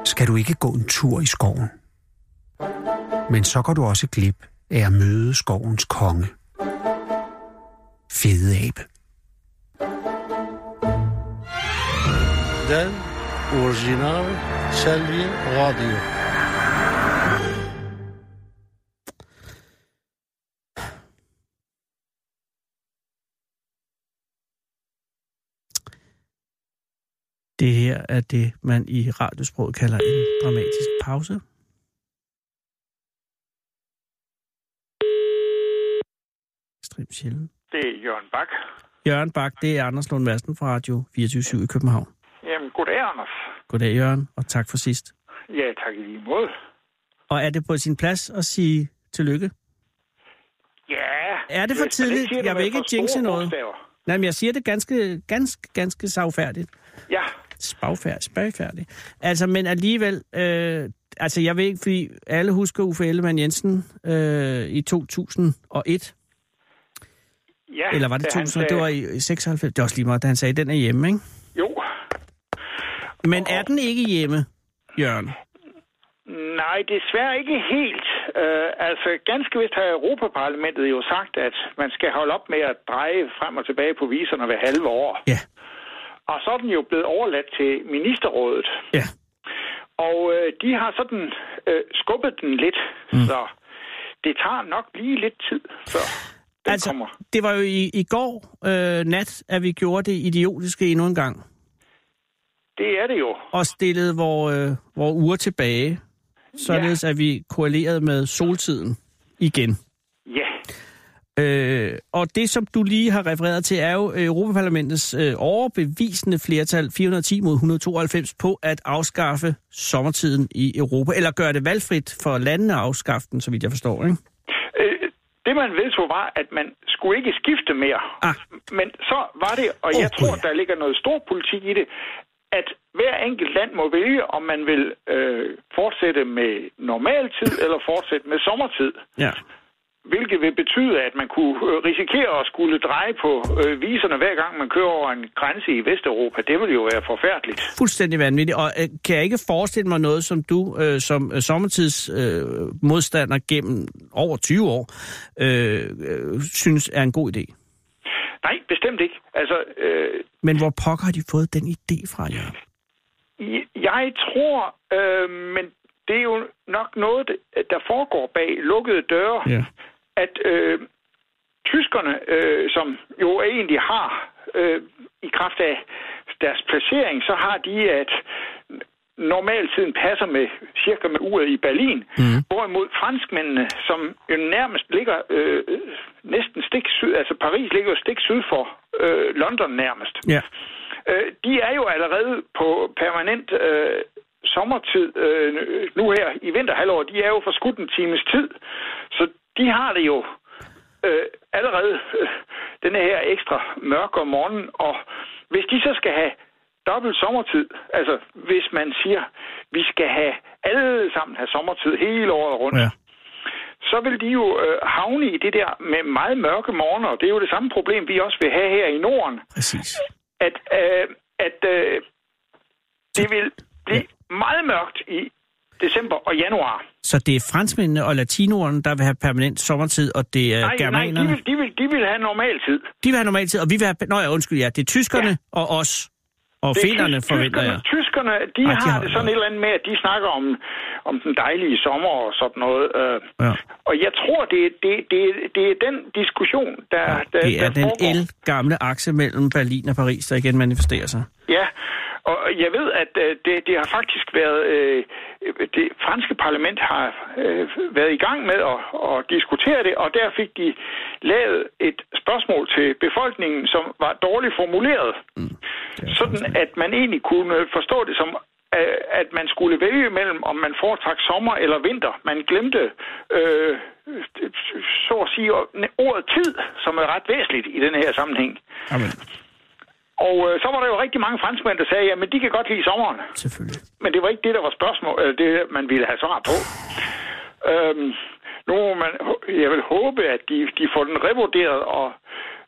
S2: skal du ikke gå en tur i skoven. Men så går du også glip af at møde skovens konge. Fede abe.
S12: Den originale Salvi Radio.
S3: Det her er det, man i radiosproget kalder en dramatisk pause. Ekstremt sjældent.
S13: Det er Jørgen Bak.
S3: Jørgen Bak, det er Anders Lund Madsen fra Radio 24 i København.
S13: Jamen, goddag, Anders.
S3: Goddag, Jørgen, og tak for sidst.
S13: Ja, tak i lige måde.
S3: Og er det på sin plads at sige tillykke?
S13: Ja.
S3: Er det for tidligt? Siger, jeg vil ikke jinxe noget. Bogstaver. Nej, men jeg siger det ganske, ganske, ganske savfærdigt.
S13: Ja.
S3: Spagfærdigt, spagfærdigt. Altså, men alligevel, øh, altså jeg ved ikke, fordi alle husker Uffe Ellemann Jensen øh, i 2001.
S13: Ja.
S3: Eller var det 2000? Sagde... Det var i 96. Det er også lige meget, da han sagde, den er hjemme, ikke?
S13: Jo.
S3: Men er den ikke hjemme, Jørgen?
S13: Nej, desværre ikke helt. Øh, uh, altså, ganske vist har Europaparlamentet jo sagt, at man skal holde op med at dreje frem og tilbage på viserne hver halve år.
S3: Ja.
S13: Og så er den jo blevet overladt til ministerrådet.
S3: Ja.
S13: Og øh, de har sådan øh, skubbet den lidt, mm. så det tager nok lige lidt tid, før den
S3: altså,
S13: kommer.
S3: det var jo i, i går øh, nat, at vi gjorde det idiotiske endnu en gang.
S13: Det er det jo.
S3: Og stillede vores øh, vor uger tilbage, således ja. at vi korrelerede med soltiden igen.
S13: Ja.
S3: Øh, og det, som du lige har refereret til, er jo Europaparlamentets øh, overbevisende flertal 410 mod 192 på at afskaffe sommertiden i Europa, eller gøre det valgfrit for landene at afskaffe den, så vidt jeg forstår, ikke?
S13: Øh, det, man vedtog, var, at man skulle ikke skifte mere.
S3: Ah.
S13: Men så var det, og jeg
S3: Okay.
S13: tror, der ligger noget stor politik i det, at hver enkelt land må vælge, om man vil øh, fortsætte med normaltid eller fortsætte med sommertid.
S3: Ja.
S13: Hvilket vil betyde, at man kunne øh, risikere at skulle dreje på øh, viserne hver gang man kører over en grænse i Vesteuropa. Det ville jo være forfærdeligt.
S3: Fuldstændig vanvittigt. Og øh, kan jeg ikke forestille mig noget, som du øh, som øh, sommertidsmodstander øh, modstander gennem over 20 år øh, øh, synes er en god idé?
S13: Nej, bestemt ikke. Altså, øh,
S3: Men hvor pokker har de fået den idé fra jer?
S13: Jeg- Jeg tror, øh, men det er jo nok noget, der foregår bag lukkede døre,
S3: Ja.
S13: at øh, tyskerne, øh, som jo egentlig har øh, i kraft af deres placering, så har de, at normaltiden passer med cirka med uret i Berlin,
S3: Mhm.
S13: mm. hvorimod franskmændene, som jo nærmest ligger øh, næsten stik syd, altså Paris ligger jo stik syd for øh, London nærmest.
S3: Ja.
S13: Øh, de er jo allerede på permanent øh, sommertid øh, nu her i vinterhalvåret. De er jo forskudt en times tid, så de har det jo øh, allerede øh, den her ekstra mørke om morgenen. Og hvis de så skal have dobbelt sommertid, altså hvis man siger, vi skal have alle sammen have sommertid hele året rundt,
S3: Ja.
S13: så vil de jo øh, havne i det der med meget mørke morgener, og det er jo det samme problem, vi også vil have her i Norden
S3: Præcis.
S13: at, øh, at øh, det vil blive meget mørkt i december og januar.
S3: Så det er franskmændene og latinoerne, der vil have permanent sommertid, og det er
S13: nej, nej,
S3: germanerne?
S13: de vil, de, vil, de vil have normal tid.
S3: De vil have normaltid, og vi vil have... Nå ja, undskyld, ja. Det er tyskerne ja. og os. Og
S13: Det er
S3: finnerne,
S13: tysk-
S3: forventer
S13: tyskerne,
S3: jeg.
S13: Tyskerne, de,
S3: Nej,
S13: Ej,
S3: de
S13: de har
S3: har
S13: det
S3: jo
S13: sådan et eller andet med, at de snakker om, om den dejlige sommer og sådan noget. øh.
S3: Ja.
S13: Og jeg tror, det, er- det, det, det er den diskussion, der, ja, der,
S3: Det er
S13: der
S3: den
S13: foregår.
S3: el gamle akse mellem Berlin og Paris, der igen manifesterer sig.
S13: Ja, og jeg ved, at øh, det, det har faktisk været... Øh, det franske parlament har øh, været i gang med at, at diskutere det, og der fik de lavet et spørgsmål til befolkningen, som var dårligt formuleret. Mm, sådan, at man egentlig kunne forstå det som øh, at man skulle vælge mellem, om man foretrak sommer eller vinter. Man glemte, øh, så at sige, ordet tid, som er ret væsentligt i den her sammenhæng.
S3: Amen.
S13: Og øh, så var der jo rigtig mange franskmænd, der sagde, jamen de kan godt lide sommeren.
S3: Selvfølgelig.
S13: Men det var ikke det, der var spørgsmål, eller det, man ville have svar på. Øhm, nu må man, jeg vil håbe, at de, de får den revurderet, og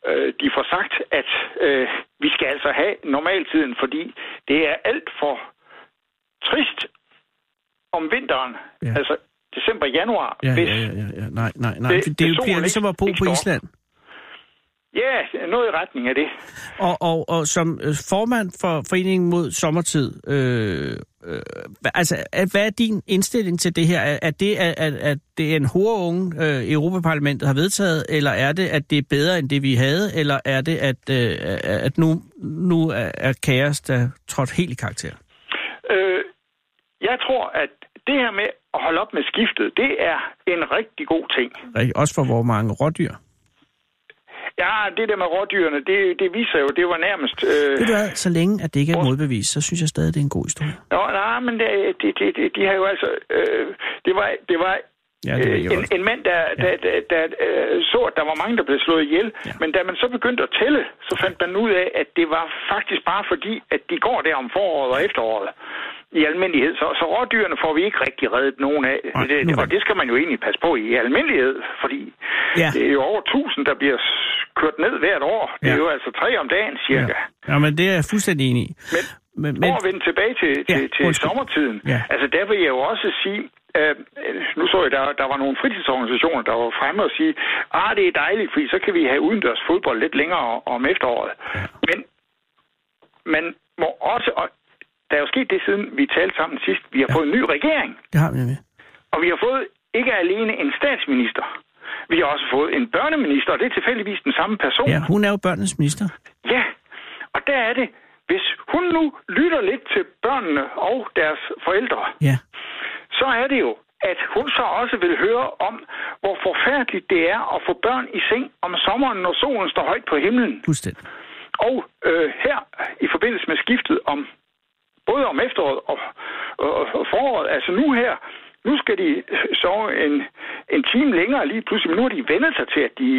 S13: øh, de får sagt, at øh, vi skal altså have normaltiden, fordi det er alt for trist om vinteren,
S3: Ja.
S13: ja. altså december-januar,
S3: Ja,
S13: hvis
S3: ja, ja, ja, ja. Nej, nej, nej.
S13: Det-
S3: Det,
S13: det
S3: det,
S13: solen
S3: bliver ligesom
S13: ikke-
S3: at bo
S13: ikke
S3: på
S13: står.
S3: Island.
S13: Ja, noget i retning af det.
S3: Og, og, og som øh, formand for Foreningen mod Sommertid, øh, øh, hva- altså, at- hvad er din indstilling til det her? Er, er det, at, at, at det er en horunge, øh, Europaparlamentet har vedtaget, eller er det, at det er bedre end det, vi havde, eller er det, at, øh, at nu, nu er, er kaos, der trådt helt i karakter?
S13: Øh, jeg tror, at det her med at holde op med skiftet, det er en rigtig god ting.
S3: Ikke? Også for hvor mange rådyr?
S13: Ja, det der med rådyrene, det, det viser jo, det var nærmest... Øh,
S3: Ved du hvad, så længe at det ikke er modbevist, så synes jeg stadig, det er en god historie.
S13: nå, nej, men det, det, det, det, de har jo altså... Øh, det var, det var
S3: Ja, det ved
S13: øh,
S3: jeg
S13: en,
S3: godt.
S13: en mand, der, der, der, der øh, så, at der var mange, der blev slået ihjel. Ja. Men da man så begyndte at tælle, så fandt man ud af, at det var faktisk bare fordi, at de går der om foråret og efteråret i almindelighed. Så, så rådyrene får vi ikke rigtig reddet nogen af.
S3: Nej, nu
S13: det,
S3: er
S13: og det skal man jo egentlig passe på i almindelighed, fordi
S3: Ja.
S13: ja. det er jo over 1000, der bliver s- kørt ned hvert år. Det er
S3: Ja.
S13: jo altså tre om dagen cirka. Ja.
S3: Ja, men det er jeg fuldstændig enig i.
S13: Men,
S3: men,
S13: men... For at vende tilbage til, til,
S3: Ja,
S13: til
S3: undskyld.
S13: sommertiden,
S3: Ja.
S13: altså der vil jeg jo også sige, øh, nu så jeg, der, der var nogle fritidsorganisationer, der var fremme og sige, ah, det er dejligt, fordi så kan vi have udendørs fodbold lidt længere om efteråret. Men man må også, og der er jo sket det siden, vi talte sammen sidst, vi har ja. fået en ny regering.
S3: Det har vi nemlig.
S13: Og vi har fået ikke alene en statsminister, vi har også fået en børneminister, og det er tilfældigvis den samme person.
S3: Ja, hun er jo børnenes minister.
S13: Ja, og der er det, hvis hun nu lytter lidt til børnene og deres forældre,
S3: ja.
S13: så er det jo, at hun så også vil høre om, hvor forfærdeligt det er at få børn i seng om sommeren, når solen står højt på himlen.
S3: Fuldstændig.
S13: Og øh, her, i forbindelse med skiftet om både om efteråret og, og, og foråret, altså nu her, nu skal de øh, sove en, en time længere lige pludselig, men nu har de vendt sig til, at de,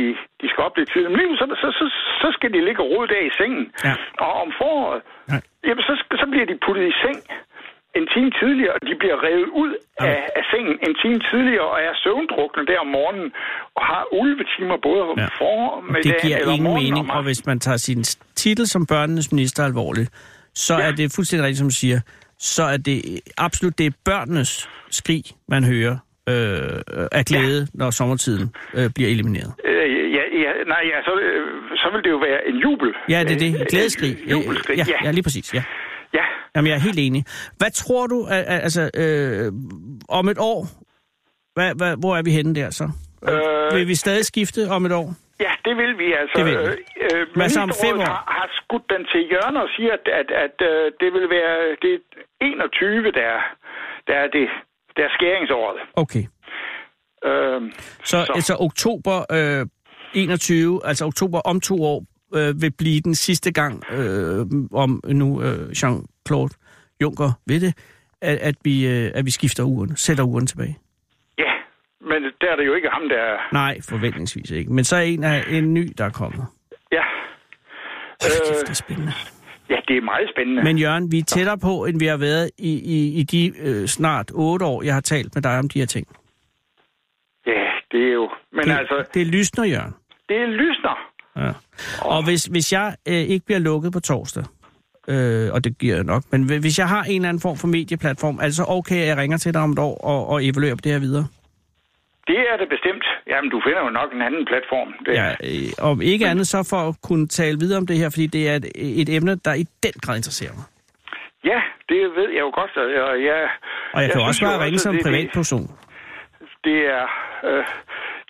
S13: de skal op lidt tidligt. Men lige så, så, så, så skal de ligge og rode der i sengen.
S3: Ja.
S13: Og om foråret, ja. jamen, så, så bliver de puttet i seng en time tidligere, og de bliver revet ud ja. af, af sengen en time tidligere, og er søvndrukne der om morgenen, og har ulvetimer både om ja.
S3: formiddagen Det giver
S13: eller
S3: ingen
S13: morgenen,
S3: mening, og, og hvis man tager sin titel som børnenes minister alvorligt, så ja. er det fuldstændig rigtigt, som du siger, så er det absolut det er børnenes skrig, man hører øh, af glæde, ja. når sommertiden øh, bliver elimineret.
S13: Øh, ja, ja, nej, ja, så, øh, så vil det jo være en jubel.
S3: Ja, det er det. Et glædeskrig.
S13: Øh, jubelskrig,
S3: ja, ja. Ja, lige præcis, ja.
S13: Ja.
S3: Jamen, jeg er helt enig. Hvad tror du, al- al- altså, øh, om et år, hvad, hvad, hvor er vi henne der så? Øh, vil vi stadig skifte om et år?
S13: Ja, det vil vi altså.
S3: Det vil vi.
S13: Øh,
S3: Hvad så om fem år?
S13: Har, har skudt den til hjørne og siger, at, at, at øh, det vil være det er 21, der, er- der er det der er skæringsåret.
S3: Okay.
S13: Øh,
S3: Så, så. altså oktober øh, 21, altså oktober om to år, øh, vil blive den sidste gang, øh, om nu øh, Jean-Claude Juncker ved det, at, at, vi, øh, at vi skifter uren, sætter uren tilbage.
S13: ja, men der er det jo ikke ham, der... er-
S3: Nej, forventningsvis ikke. Men så er en, af, en ny, der er kommet.
S13: Ja.
S3: Kæft,
S13: Øh,
S3: det er spændende.
S13: ja, det er meget spændende.
S3: Men Jørgen, vi er tættere på, end vi har været i, i, i de øh, snart otte år, jeg har talt med dig om de her ting.
S13: Ja, det er jo... Men
S3: det,
S13: altså,
S3: det lysner, Jørgen.
S13: det lysner.
S3: Ja. Og hvis, hvis jeg øh, ikke bliver lukket på torsdag, øh, og det giver jeg nok, men hvi- hvis jeg har en eller anden form for medieplatform, altså okay, jeg ringer til dig om et år og, og evaluerer på det her videre.
S13: Det er det bestemt. Jamen, du finder jo nok en anden platform. Det,
S3: Ja, øh, om ikke andet så for at kunne tale videre om det her, fordi det er et, et emne, der i den grad interesserer mig.
S13: ja, det ved jeg jo godt. Og jeg, jeg,
S3: Og jeg kan jo
S13: synes
S3: også bare
S13: jo
S3: ringe som
S13: det,
S3: privatperson.
S13: Det, det er... Øh,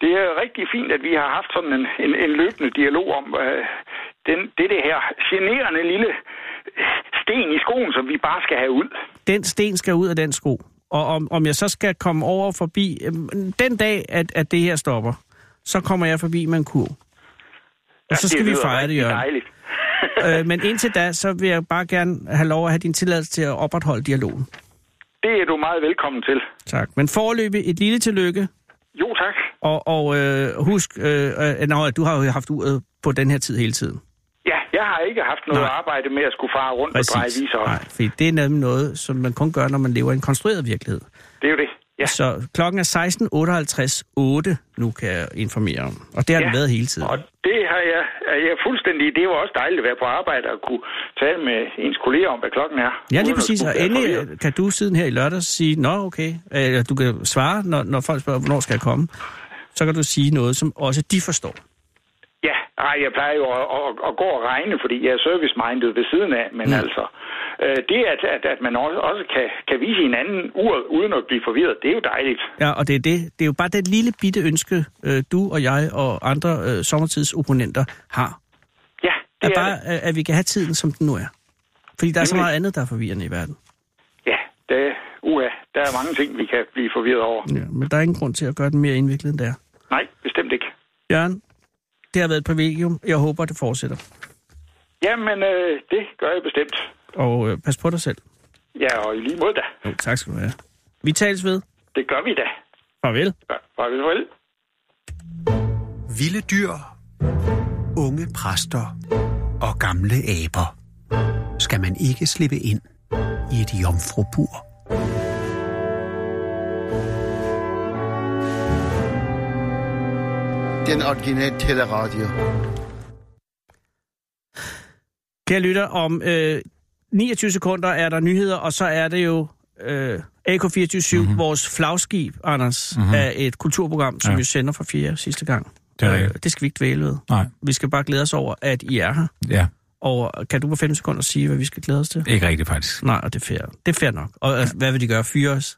S13: det er rigtig fint, at vi har haft sådan en, en, en løbende dialog om øh, den, det, det her generende lille sten i skoen, som vi bare skal have ud.
S3: Den sten skal ud af den sko. Og om, om jeg så skal komme over forbi, øh, den dag, at, at det her stopper, så kommer jeg forbi med en kur. Og så skal vi
S13: lyder
S3: fejre det,
S13: rigtig
S3: Jørgen.
S13: dejligt.
S3: øh, men indtil da, så vil jeg bare gerne have lov at have din tilladelse til at opretholde dialogen.
S13: Det er du meget velkommen til.
S3: Tak. Men forløbig et lille tillykke,
S13: Jo, tak.
S3: og, og øh, husk, øh, øh, nå, du har jo haft uret på den her tid hele tiden.
S13: Ja, jeg har ikke haft noget
S3: Nej.
S13: arbejde med at skulle fare rundt og dreje viser.
S3: Nej, fordi det er nemlig noget, som man kun gør, når man lever i en konstrueret virkelighed.
S13: Det er jo det. Ja.
S3: Så klokken er 16.58.8 nu, kan jeg informere om. Og det har ja.
S13: Ja.
S3: den været hele tiden. Og...
S13: Det har jeg, er jeg fuldstændig. Det var også dejligt at være på arbejde og kunne tale med ens kolleger om, hvad klokken er.
S3: Ja,
S13: Uden
S3: lige
S13: at
S3: præcis.
S13: skulle
S3: Og
S13: være
S3: endelig
S13: forvirret.
S3: øh, kan du siden her i lørdag sige, nå okay, eller du kan svare, når, når folk spørger, hvornår skal jeg komme. Så kan du sige noget, som også de forstår.
S13: Ja, ej, jeg plejer jo at, at, at gå og regne, fordi jeg er service-minded ved siden af, men
S3: Mm.
S13: mm. altså, øh, det at, at, at man også, også kan, kan vise hinanden uret uden at blive forvirret, det er jo dejligt.
S3: Ja, og det er det. Det er jo bare det lille bitte ønske, øh, du og jeg og andre øh, sommertidsopponenter har.
S13: Ja, det
S3: At,
S13: er,
S3: bare,
S13: det.
S3: øh, at vi kan have tiden, som den nu er. Fordi der er så
S13: Nemlig.
S3: meget andet, der er forvirrende i verden.
S13: Ja, det, uha, der er mange ting, vi kan blive forvirret over.
S3: Ja, men der er ingen grund til at gøre den mere indviklet, end det er.
S13: Nej, bestemt ikke.
S3: Jørgen, det har været et privilegium. Jeg håber, det fortsætter.
S13: Jamen, øh, det gør jeg bestemt.
S3: Og øh, pas på dig selv.
S13: Ja, og i lige måde da.
S3: Jo, tak skal du have. Vi tales ved.
S13: Det gør vi da.
S3: Farvel.
S13: Ja, Farvel.
S2: Vilde dyr, unge præster og gamle aber skal man ikke slippe ind i et jomfrubur.
S12: Den originale teleradio.
S3: Kære lytter, om øh, 29 sekunder er der nyheder, og så er det jo øh, AK24-7,
S14: Mhm.
S3: mm-hmm. vores flagskib, Anders, mm-hmm. er et kulturprogram, som ja. vi sender for fjerde sidste gang.
S14: Det, er øh,
S3: det skal vi ikke dvæle ved.
S14: Nej.
S3: Vi skal bare glæde os over, at I er her.
S14: Ja.
S3: Og øh, kan du på fem sekunder sige, hvad vi skal glæde os til?
S14: Ikke rigtigt, faktisk.
S3: Nej, og det er fair. Det er fair nok. Og ja. hvad vil de gøre? Fyre os?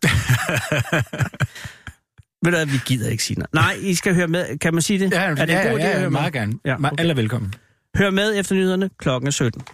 S3: Ved du hvad, vi gider ikke sige noget. Nej, I skal høre med. Kan man sige det?
S14: Ja,
S3: er det
S14: ja,
S3: en god idé
S14: ja,
S3: at
S14: ja,
S3: høre med?
S14: meget gerne. Ja, okay. Alle er velkommen.
S3: Hør med efter nyhederne klokken er 17.